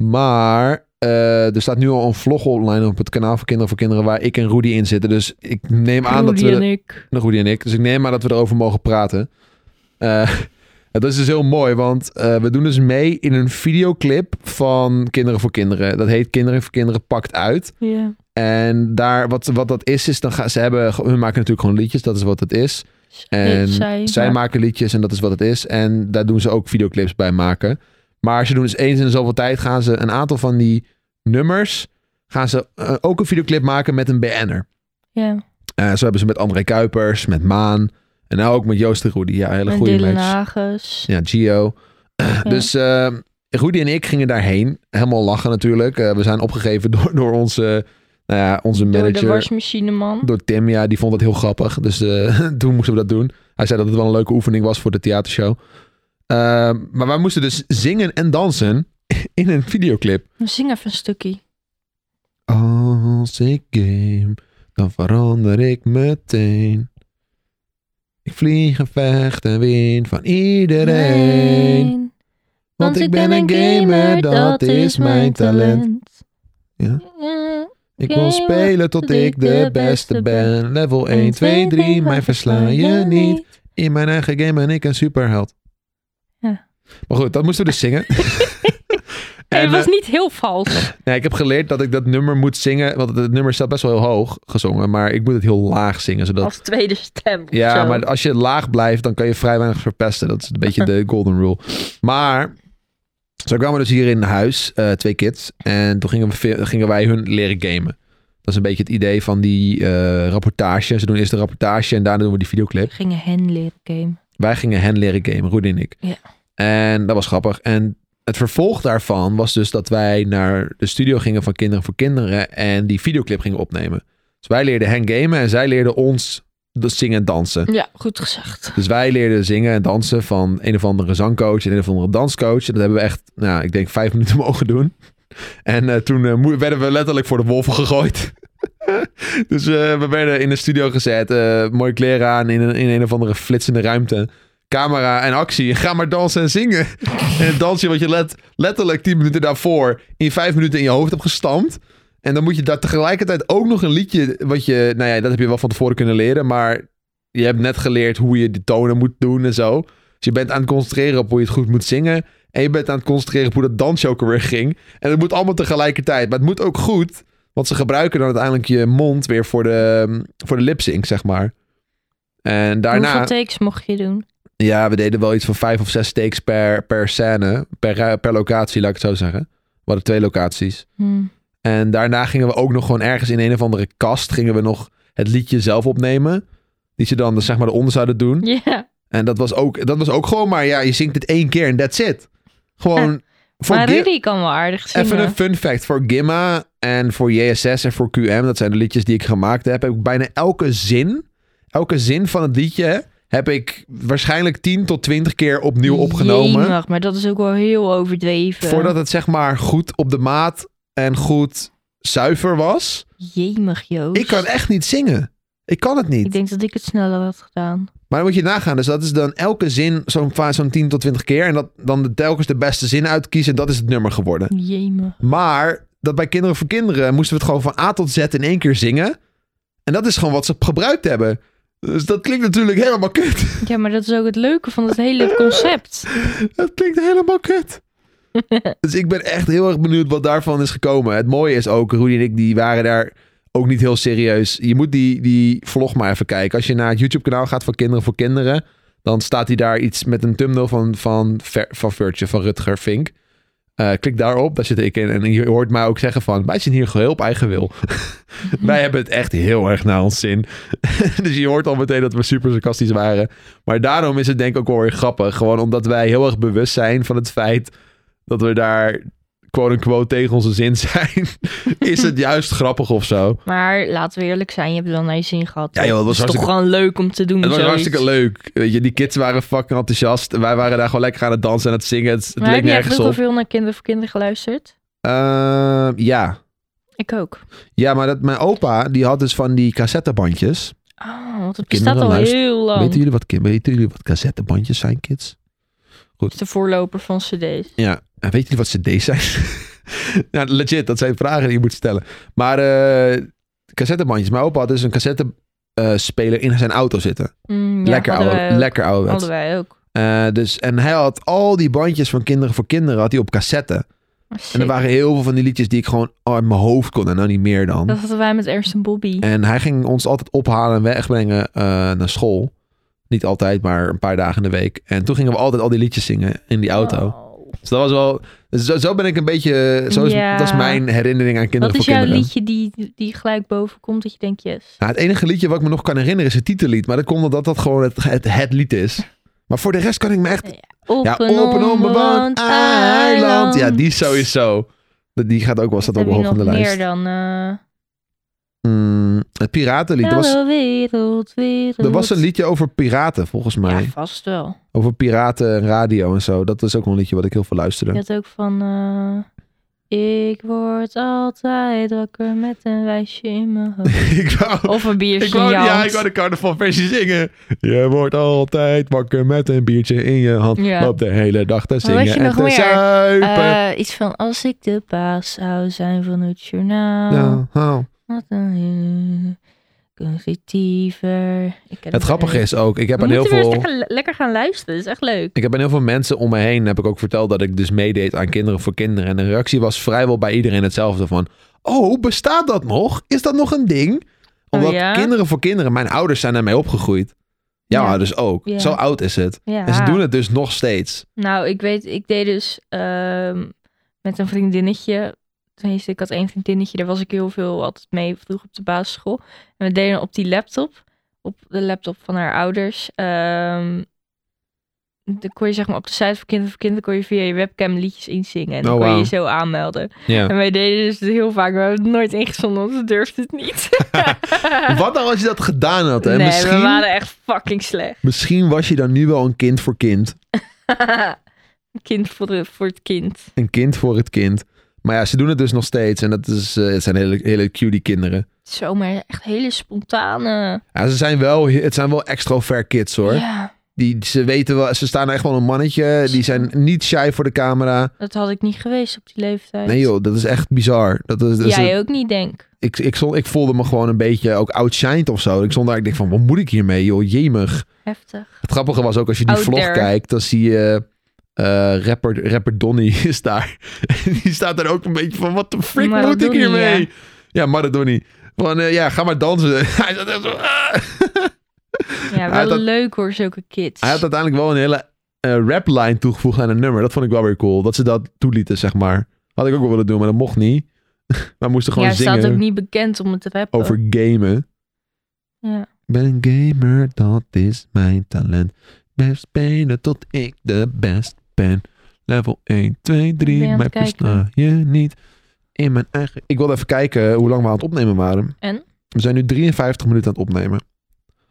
[SPEAKER 2] Maar eh, er staat nu al een vlog online op het kanaal van Kinderen voor Kinderen waar ik en Rudy in zitten. Dus ik neem aan dat we...
[SPEAKER 1] Rudy en ik.
[SPEAKER 2] Nou, Rudy en ik. Dus ik neem aan dat we erover mogen praten. Eh, dat is dus heel mooi, want eh, we doen dus mee in een videoclip van Kinderen voor Kinderen. Dat heet Kinderen voor Kinderen pakt uit.
[SPEAKER 1] Ja.
[SPEAKER 2] En daar, wat, wat dat is, is dan gaan ze hebben, hun maken natuurlijk gewoon liedjes, dat is wat het is. En
[SPEAKER 1] Nee, zij,
[SPEAKER 2] zij
[SPEAKER 1] maar-
[SPEAKER 2] maken liedjes en dat is wat het is. En daar doen ze ook videoclips bij maken. Maar ze doen dus eens in zoveel tijd gaan ze een aantal van die nummers, gaan ze eh, ook een videoclip maken met een BN'er.
[SPEAKER 1] Ja,
[SPEAKER 2] Eh, zo hebben ze met André Kuipers, met Maan. En nou ook met Joost en Rudy. Ja, hele
[SPEAKER 1] en
[SPEAKER 2] goede
[SPEAKER 1] Dylan
[SPEAKER 2] match.
[SPEAKER 1] Hagens.
[SPEAKER 2] Ja, Gio. Dus eh, Rudy en ik gingen daarheen. Helemaal lachen natuurlijk. Eh, we zijn opgegeven door, door onze, nou ja, onze
[SPEAKER 1] Door
[SPEAKER 2] manager.
[SPEAKER 1] de wasmachine man.
[SPEAKER 2] Door Tim, ja, die vond het heel grappig. Dus eh, toen moesten we dat doen. Hij zei dat het wel een leuke oefening was voor de theatershow. Eh, maar wij moesten dus zingen en dansen in een videoclip.
[SPEAKER 1] Zing even een stukje.
[SPEAKER 2] Als ik game, dan verander ik meteen. Ik vlieg en vecht en win van iedereen. Want ik ben een gamer, dat is mijn talent. Ja.
[SPEAKER 1] Ja.
[SPEAKER 2] Ik wil
[SPEAKER 1] gamer,
[SPEAKER 2] spelen tot ik de beste ben. Level 1, 2, 3, mij versla je niet. In mijn eigen game ben ik een superheld.
[SPEAKER 1] Ja.
[SPEAKER 2] Maar goed, dat moesten we dus zingen.
[SPEAKER 1] Nee,
[SPEAKER 2] En,
[SPEAKER 1] het was
[SPEAKER 2] eh,
[SPEAKER 1] niet heel vals.
[SPEAKER 2] nee, ik heb geleerd dat ik dat nummer moet zingen. Want het nummer staat best wel heel hoog gezongen. Maar ik moet het heel laag zingen. Zodat
[SPEAKER 1] Als tweede stem. of
[SPEAKER 2] Ja,
[SPEAKER 1] zo.
[SPEAKER 2] maar als je laag blijft, dan kan je vrij weinig verpesten. Dat is een beetje de golden rule. Maar zo kwamen we dus hier in huis, eh, twee kids. En toen gingen, we, ve- gingen wij hun leren gamen. Dat is een beetje het idee van die eh, rapportage. Ze doen eerst de rapportage en daarna doen we die videoclip.
[SPEAKER 1] We gingen hen leren game.
[SPEAKER 2] Wij gingen hen leren gamen, Rudy en ik.
[SPEAKER 1] Ja.
[SPEAKER 2] En dat was grappig. En het vervolg daarvan was dus dat wij naar de studio gingen van Kinderen voor Kinderen en die videoclip gingen opnemen. Dus wij leerden hen gamen en zij leerden ons dat zingen en dansen.
[SPEAKER 1] Ja, goed gezegd.
[SPEAKER 2] Dus wij leerden zingen en dansen van een of andere zangcoach en een of andere danscoach. En dat hebben we echt, nou, ik denk vijf minuten mogen doen. En eh, toen eh, moe- werden we letterlijk voor de wolven gegooid. dus eh, we werden in de studio gezet, eh, mooie kleren aan, in een, in een of andere flitsende ruimte. Camera en actie. Ga maar dansen en zingen. en het dansje wat je let, letterlijk tien minuten daarvoor in vijf minuten in je hoofd hebt gestampt. En dan moet je daar tegelijkertijd ook nog een liedje, wat je, nou ja, dat heb je wel van tevoren kunnen leren. Maar je hebt net geleerd hoe je de tonen moet doen en zo. Dus je bent aan het concentreren op hoe je het goed moet zingen. En je bent aan het concentreren op hoe dat dansje ook weer ging. En het moet allemaal tegelijkertijd. Maar het moet ook goed. Want ze gebruiken dan uiteindelijk je mond weer voor de, voor de lip-sync, zeg maar. En daarna...
[SPEAKER 1] Hoeveel takes mocht je doen?
[SPEAKER 2] Ja, we deden wel iets van vijf of zes takes per, per scène. Per, per locatie, laat ik het zo zeggen. We hadden twee locaties.
[SPEAKER 1] Hm.
[SPEAKER 2] En daarna gingen we ook nog gewoon ergens in een of andere kast... gingen we nog het liedje zelf opnemen. Die ze dan dus zeg maar eronder zouden doen.
[SPEAKER 1] Ja,
[SPEAKER 2] En dat was ook, dat was ook gewoon maar, ja, je zingt het één keer en that's it. Gewoon, voor
[SPEAKER 1] maar
[SPEAKER 2] Gi-
[SPEAKER 1] Rudy kan wel aardig zingen.
[SPEAKER 2] even een fun fact. Voor Gimma en voor JSS en voor QM, dat zijn de liedjes die ik gemaakt heb, heb ik bijna elke zin, elke zin van het liedje, heb ik waarschijnlijk 10 tot 20 keer opnieuw opgenomen.
[SPEAKER 1] Jemig, maar dat is ook wel heel overdreven.
[SPEAKER 2] Voordat het zeg maar goed op de maat en goed zuiver was.
[SPEAKER 1] Jemig, Joost.
[SPEAKER 2] Ik kan echt niet zingen. Ik kan het niet.
[SPEAKER 1] Ik denk dat ik het sneller had gedaan.
[SPEAKER 2] Maar dan moet je nagaan. Dus dat is dan elke zin zo'n va- zo'n 10 tot 20 keer. En dat, dan de, telkens de beste zin uitkiezen. Dat is het nummer geworden.
[SPEAKER 1] Jemig.
[SPEAKER 2] Maar dat bij Kinderen voor Kinderen moesten we het gewoon van A tot Z in één keer zingen. En dat is gewoon wat ze gebruikt hebben. Dus dat klinkt natuurlijk helemaal kut.
[SPEAKER 1] Ja, maar dat is ook het leuke van het hele concept.
[SPEAKER 2] Dat klinkt helemaal kut. dus ik ben echt heel erg benieuwd wat daarvan is gekomen. Het mooie is ook, Rudy en ik die waren daar ook niet heel serieus. Je moet die, die vlog maar even kijken. Als je naar het YouTube kanaal gaat van Kinderen voor Kinderen... dan staat hij daar iets met een thumbnail van, van, Ver- van Virtue, van Rutger Vink. Eh, klik daarop, daar zit ik in. En je hoort mij ook zeggen van... wij zijn hier geheel op eigen wil. wij hebben het echt heel erg naar ons zin. dus je hoort al meteen dat we super sarcastisch waren. Maar daarom is het denk ik ook wel weer grappig. Gewoon omdat wij heel erg bewust zijn van het feit... dat we daar quote-unquote tegen onze zin zijn... is het juist grappig of zo.
[SPEAKER 1] Maar laten we eerlijk zijn, je hebt het wel naar je zin gehad.
[SPEAKER 2] Ja, joh, het was
[SPEAKER 1] is
[SPEAKER 2] hartstikke-
[SPEAKER 1] toch gewoon leuk om te doen.
[SPEAKER 2] Het was
[SPEAKER 1] zoiets.
[SPEAKER 2] hartstikke leuk. Weet je, die kids waren fucking enthousiast. Wij waren daar gewoon lekker aan het dansen en het zingen. Het, het
[SPEAKER 1] Maar
[SPEAKER 2] leek
[SPEAKER 1] heb je
[SPEAKER 2] nergens
[SPEAKER 1] eigenlijk
[SPEAKER 2] op.
[SPEAKER 1] ook al veel naar Kinderen voor Kinderen geluisterd?
[SPEAKER 2] Ehm, ja.
[SPEAKER 1] Ik ook.
[SPEAKER 2] Ja, maar dat, mijn opa, die had dus van die cassettebandjes.
[SPEAKER 1] Oh, want het
[SPEAKER 2] Kinderen
[SPEAKER 1] bestaat al
[SPEAKER 2] luisteren.
[SPEAKER 1] heel lang.
[SPEAKER 2] Weten, jullie wat, kin- weten jullie wat cassettebandjes zijn, kids?
[SPEAKER 1] Het is de voorloper van cd's.
[SPEAKER 2] Ja, en weet jullie wat cd's zijn? nou, legit, dat zijn vragen die je moet stellen. Maar eh, cassettebandjes. Mijn opa had dus een cassettespeler in zijn auto zitten.
[SPEAKER 1] Mm, ja,
[SPEAKER 2] lekker,
[SPEAKER 1] hadden wij
[SPEAKER 2] oude,
[SPEAKER 1] ook.
[SPEAKER 2] lekker ouderwets.
[SPEAKER 1] Hadden wij ook. Oh,
[SPEAKER 2] Eh, dus, en hij had al die bandjes van Kinderen voor Kinderen had hij op cassette. En er waren heel veel van die liedjes die ik gewoon uit mijn hoofd kon. En nou niet meer dan.
[SPEAKER 1] Dat hadden wij met Ernst en Bobby.
[SPEAKER 2] En hij ging ons altijd ophalen en wegbrengen eh, naar school. Niet altijd, maar een paar dagen in de week. En toen gingen we altijd al die liedjes zingen in die auto.
[SPEAKER 1] Oh.
[SPEAKER 2] Dus dat was wel. dus Zo, zo ben ik een beetje. eh, Zo is,
[SPEAKER 1] Ja.
[SPEAKER 2] Dat is mijn herinnering aan kinderen
[SPEAKER 1] Wat is
[SPEAKER 2] voor
[SPEAKER 1] jouw
[SPEAKER 2] kinderen.
[SPEAKER 1] liedje die, die gelijk boven komt dat je denkt yes?
[SPEAKER 2] Nou, het enige liedje wat ik me nog kan herinneren is het titellied. Maar dat komt omdat dat gewoon het, het, het lied is. Maar voor de rest kan ik me echt.
[SPEAKER 1] Op,
[SPEAKER 2] Ja, op een onbewoond eiland. Ja, die sowieso. Dat- Die gaat ook wel, staat ook wel hoog op de lijst.
[SPEAKER 1] meer dan... eh,
[SPEAKER 2] Mm, het piratenlied. Er was,
[SPEAKER 1] Hallo wereld, wereld.
[SPEAKER 2] er was een liedje over piraten, volgens mij.
[SPEAKER 1] Ja, vast wel.
[SPEAKER 2] Over piraten en radio en zo. Dat is ook wel een liedje wat ik heel veel luisterde.
[SPEAKER 1] Je had ook van... eh, ik word altijd wakker met een wijsje in mijn hoofd.
[SPEAKER 2] ik wou,
[SPEAKER 1] Of een biertje
[SPEAKER 2] ik wou,
[SPEAKER 1] in je
[SPEAKER 2] ja,
[SPEAKER 1] hand.
[SPEAKER 2] ik wou de carnavalversie zingen. Je wordt altijd wakker met een biertje in je hand.
[SPEAKER 1] Ja.
[SPEAKER 2] Loopt de hele dag te
[SPEAKER 1] had
[SPEAKER 2] zingen
[SPEAKER 1] je
[SPEAKER 2] en
[SPEAKER 1] nog
[SPEAKER 2] te
[SPEAKER 1] meer?
[SPEAKER 2] zuipen.
[SPEAKER 1] Eh, iets van als ik de baas zou zijn van het journaal.
[SPEAKER 2] ja, oh.
[SPEAKER 1] Wat een constructiever. Ik ken
[SPEAKER 2] Het grappige is ook, ik heb
[SPEAKER 1] We
[SPEAKER 2] aan
[SPEAKER 1] moeten
[SPEAKER 2] heel
[SPEAKER 1] weer eens
[SPEAKER 2] veel...
[SPEAKER 1] lekker, lekker gaan luisteren. Dat is echt leuk.
[SPEAKER 2] Ik heb aan heel veel mensen om me heen heb ik ook verteld dat ik dus meedeed aan Kinderen voor Kinderen. En de reactie was vrijwel bij iedereen hetzelfde van... Oh, bestaat dat nog? Is dat nog een ding? Omdat
[SPEAKER 1] Oh, ja?
[SPEAKER 2] Kinderen voor Kinderen, mijn ouders zijn daarmee opgegroeid. Jouw
[SPEAKER 1] Ja.
[SPEAKER 2] ouders ook.
[SPEAKER 1] Ja.
[SPEAKER 2] Zo oud is het.
[SPEAKER 1] Ja.
[SPEAKER 2] En ze doen het dus nog steeds.
[SPEAKER 1] Nou, ik weet, ik deed dus ehm, met een vriendinnetje. Tenminste, ik had één vriendinnetje, daar was ik heel veel altijd mee vroeg op de basisschool. En we deden op die laptop, op de laptop van haar ouders. ehm, dan kon je zeg maar op de site van Kinderen voor Kinderen kon je via je webcam liedjes inzingen. En dan
[SPEAKER 2] Oh,
[SPEAKER 1] kon je je
[SPEAKER 2] wauw.
[SPEAKER 1] zo aanmelden.
[SPEAKER 2] Ja.
[SPEAKER 1] En wij deden dus het heel vaak, we hebben het nooit ingezonden, want we durfden het niet.
[SPEAKER 2] Wat nou als je dat gedaan had? Hè?
[SPEAKER 1] nee, we
[SPEAKER 2] misschien,
[SPEAKER 1] waren echt fucking slecht.
[SPEAKER 2] misschien was je dan nu wel een kind voor kind.
[SPEAKER 1] kind voor, de, voor het kind.
[SPEAKER 2] Een kind voor het kind. Maar ja, ze doen het dus nog steeds. En dat is, eh, het zijn hele, hele cutie kinderen.
[SPEAKER 1] Zomaar echt hele spontane.
[SPEAKER 2] Ja, ze zijn wel, het zijn wel extrovert kids hoor.
[SPEAKER 1] Ja,
[SPEAKER 2] Die, ze weten wel, ze staan echt wel een mannetje. Die zijn niet shy voor de camera.
[SPEAKER 1] dat had ik niet geweest op die leeftijd.
[SPEAKER 2] Nee joh, dat is echt bizar. Dat is, dat is-
[SPEAKER 1] Jij ook niet, denk.
[SPEAKER 2] ik, ik, stond, ik voelde me gewoon een beetje ook outshined of zo. Ik stond daar, ik denk van, wat moet ik hiermee joh, jemig.
[SPEAKER 1] Heftig.
[SPEAKER 2] Het grappige was ook, als je die
[SPEAKER 1] Out
[SPEAKER 2] vlog
[SPEAKER 1] there.
[SPEAKER 2] kijkt, dan zie je eh, rapper, rapper Donny is daar. En die staat daar ook een beetje van, wat de frick moet ik
[SPEAKER 1] Maradoni,
[SPEAKER 2] hiermee?
[SPEAKER 1] ja.
[SPEAKER 2] Ja, Maradoni. Van, eh, ja, ga maar dansen. Hij zat echt zo, "Ah."
[SPEAKER 1] Ja,
[SPEAKER 2] had
[SPEAKER 1] wel
[SPEAKER 2] dat-
[SPEAKER 1] leuk hoor, zulke kids.
[SPEAKER 2] Hij had uiteindelijk wel een hele eh, rap rapline toegevoegd aan een nummer. Dat vond ik wel weer cool. Dat ze dat toelieten, zeg maar. Had ik ook wel willen doen, maar dat mocht niet. maar moesten
[SPEAKER 1] ja,
[SPEAKER 2] gewoon
[SPEAKER 1] hij staat ook
[SPEAKER 2] zingen
[SPEAKER 1] niet bekend om het te rappen.
[SPEAKER 2] over gamen.
[SPEAKER 1] Oh. Ja.
[SPEAKER 2] Ik ben een gamer, dat is mijn talent. Best spelen tot ik de best ben. Level 1, 2,
[SPEAKER 1] Ben je
[SPEAKER 2] 3,
[SPEAKER 1] aan
[SPEAKER 2] mij
[SPEAKER 1] het kijken?
[SPEAKER 2] besta je niet. In mijn eigen... Ik wilde even kijken hoe lang we aan het opnemen waren.
[SPEAKER 1] En?
[SPEAKER 2] We zijn nu 53 minuten aan het opnemen.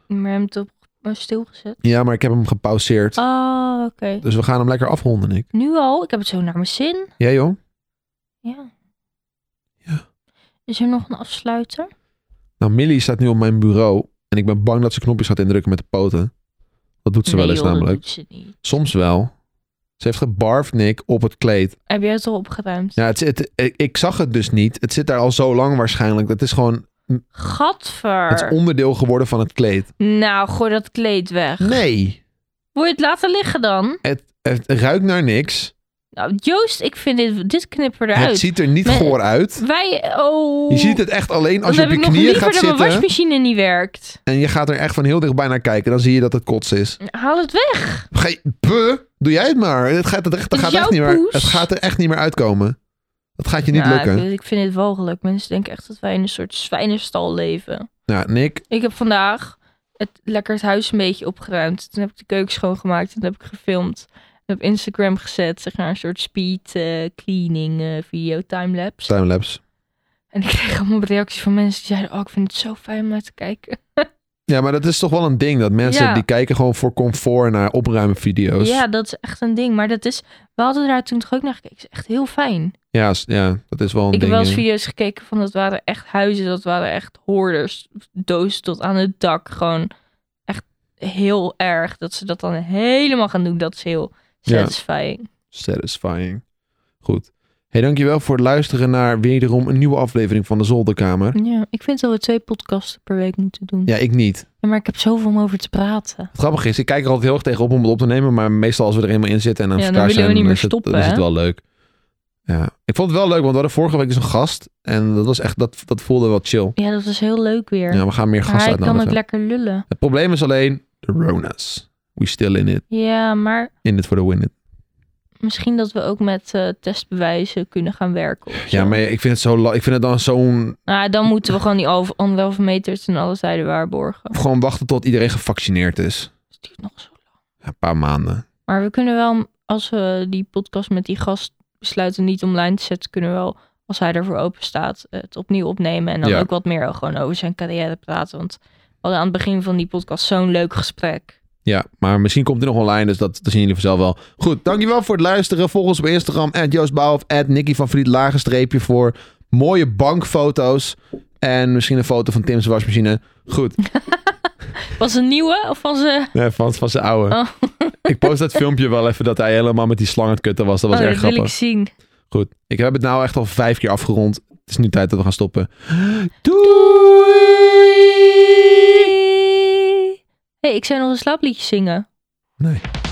[SPEAKER 1] Maar hem toch maar stilgezet.
[SPEAKER 2] Ja, maar ik heb hem gepauzeerd.
[SPEAKER 1] Oh, oké.
[SPEAKER 2] Dus we gaan hem lekker afronden, ik.
[SPEAKER 1] Nu al? Ik heb het zo naar mijn zin.
[SPEAKER 2] Jij, joh?
[SPEAKER 1] Ja.
[SPEAKER 2] Ja.
[SPEAKER 1] Is er nog een afsluiter?
[SPEAKER 2] Nou, Millie staat nu op mijn bureau. En ik ben bang dat ze knopjes gaat indrukken met de poten. Dat doet ze wel
[SPEAKER 1] Nee,
[SPEAKER 2] eens
[SPEAKER 1] joh, dat
[SPEAKER 2] namelijk.
[SPEAKER 1] doet ze niet.
[SPEAKER 2] Soms wel. Ze heeft gebarfd, Nick, op het kleed.
[SPEAKER 1] Heb jij het al opgeruimd?
[SPEAKER 2] Ja, het, het- ik- ik zag het dus niet. Het zit daar al zo lang waarschijnlijk. Het is gewoon
[SPEAKER 1] Gadver.
[SPEAKER 2] het is onderdeel geworden van het kleed.
[SPEAKER 1] Nou, gooi dat kleed weg.
[SPEAKER 2] Nee,
[SPEAKER 1] Wil je het laten liggen dan?
[SPEAKER 2] het ruikt naar niks.
[SPEAKER 1] Nou, Joost, ik vind dit, dit knipper
[SPEAKER 2] Het
[SPEAKER 1] eruit.
[SPEAKER 2] ziet er niet
[SPEAKER 1] Maar-
[SPEAKER 2] goor uit.
[SPEAKER 1] Wij, oh.
[SPEAKER 2] Je ziet het echt alleen
[SPEAKER 1] Dan
[SPEAKER 2] als je op
[SPEAKER 1] heb
[SPEAKER 2] je
[SPEAKER 1] ik nog
[SPEAKER 2] knieën
[SPEAKER 1] liever
[SPEAKER 2] gaat
[SPEAKER 1] dat mijn
[SPEAKER 2] zitten.
[SPEAKER 1] wasmachine niet werkt.
[SPEAKER 2] En je gaat er echt van heel dichtbij naar kijken. Dan zie je dat het kots is.
[SPEAKER 1] Haal het weg.
[SPEAKER 2] Ge- Puh, doe jij het maar. Het gaat, het echt, het
[SPEAKER 1] Is
[SPEAKER 2] gaat
[SPEAKER 1] jouw
[SPEAKER 2] echt niet meer,
[SPEAKER 1] poes?
[SPEAKER 2] het gaat er echt niet meer uitkomen. Dat gaat je niet
[SPEAKER 1] Nou,
[SPEAKER 2] lukken.
[SPEAKER 1] Ik, ik vind dit walgelijk. Mensen denken echt dat wij in een soort zwijnenstal leven.
[SPEAKER 2] Nou, Nick,
[SPEAKER 1] Ik heb vandaag het, lekker het huis een beetje opgeruimd. Toen heb ik de keuken schoongemaakt. Toen heb ik gefilmd. En op Instagram gezet. Zeg maar een soort speed eh, cleaning eh, video timelapse.
[SPEAKER 2] timelapse.
[SPEAKER 1] En ik kreeg allemaal reacties van mensen die zeiden... Oh, ik vind het zo fijn om naar te kijken.
[SPEAKER 2] Ja, maar dat is toch wel een ding. Dat mensen
[SPEAKER 1] Ja.
[SPEAKER 2] die kijken gewoon voor comfort naar opruimen video's.
[SPEAKER 1] Ja, dat is echt een ding. Maar dat is... We hadden daar toen toch ook naar gekeken. Het is echt heel fijn.
[SPEAKER 2] Ja, s- ja, dat is wel een
[SPEAKER 1] ik heb
[SPEAKER 2] ding.
[SPEAKER 1] wel eens
[SPEAKER 2] ja.
[SPEAKER 1] video's gekeken van dat waren echt huizen, dat waren echt hoorders. Dozen tot aan het dak. Gewoon echt heel erg dat ze dat dan helemaal gaan doen. Dat is heel
[SPEAKER 2] Ja.
[SPEAKER 1] satisfying.
[SPEAKER 2] Satisfying. Goed. Hey, dankjewel voor het luisteren naar wederom een nieuwe aflevering van de Zolderkamer.
[SPEAKER 1] Ja. ik vind dat we twee podcasten per week moeten doen.
[SPEAKER 2] Ja, ik niet.
[SPEAKER 1] Ja, maar ik heb zoveel om over te praten.
[SPEAKER 2] Het grappige is, ik kijk er altijd heel erg tegen op om het op te nemen, maar meestal als we er eenmaal in zitten en aan
[SPEAKER 1] Ja,
[SPEAKER 2] het
[SPEAKER 1] dan
[SPEAKER 2] elkaar
[SPEAKER 1] willen we
[SPEAKER 2] zijn,
[SPEAKER 1] niet
[SPEAKER 2] dan
[SPEAKER 1] meer
[SPEAKER 2] is
[SPEAKER 1] stoppen,
[SPEAKER 2] het- dan is het
[SPEAKER 1] hè?
[SPEAKER 2] wel leuk. Ja, ik vond het wel leuk, want we hadden vorige week dus een gast en dat was echt, dat, dat voelde wel chill.
[SPEAKER 1] Ja, dat is heel leuk weer.
[SPEAKER 2] Ja, we gaan meer
[SPEAKER 1] maar
[SPEAKER 2] gasten
[SPEAKER 1] hij kan ook
[SPEAKER 2] uitnodigen.
[SPEAKER 1] lekker lullen.
[SPEAKER 2] Het probleem is alleen de Ronas. We still in it.
[SPEAKER 1] Ja, maar
[SPEAKER 2] In it for the win it.
[SPEAKER 1] misschien dat we ook met eh, testbewijzen kunnen gaan werken. of
[SPEAKER 2] Ja,
[SPEAKER 1] zo.
[SPEAKER 2] maar ik vind het, zo, la- ik vind het dan zo'n...
[SPEAKER 1] Nou, dan moeten we gewoon die half- anderhalve meters en alle zijden waarborgen.
[SPEAKER 2] Gewoon wachten tot iedereen gevaccineerd is.
[SPEAKER 1] Het duurt nog zo lang.
[SPEAKER 2] Ja, een paar maanden.
[SPEAKER 1] Maar we kunnen wel, als we die podcast met die gast besluiten niet online te zetten, kunnen we wel, als hij ervoor open staat, het opnieuw opnemen. En dan
[SPEAKER 2] Ja.
[SPEAKER 1] ook wat meer gewoon over zijn carrière praten. Want we hadden aan het begin van die podcast zo'n leuk gesprek.
[SPEAKER 2] Ja, maar misschien komt hij nog online, dus dat, dat zien jullie vanzelf wel. Goed, dankjewel voor het luisteren. Volg ons op Instagram, at Joost Bouwhoff, at Nicky van Vliet, lage streepje voor mooie bankfoto's. En misschien een foto van Tim's wasmachine. Goed,
[SPEAKER 1] Was een nieuwe of was eh, een...
[SPEAKER 2] nee, van, van zijn oude.
[SPEAKER 1] Oh.
[SPEAKER 2] Ik post dat filmpje wel even dat hij helemaal met die slang aan het kutten was. Dat was
[SPEAKER 1] oh,
[SPEAKER 2] erg
[SPEAKER 1] dat wil
[SPEAKER 2] grappig.
[SPEAKER 1] ik zien.
[SPEAKER 2] Goed, ik heb het nou echt al vijf keer afgerond. Het is nu tijd dat we gaan stoppen. Doei!
[SPEAKER 1] hey, ik zou nog een slaapliedje zingen.
[SPEAKER 2] Nee.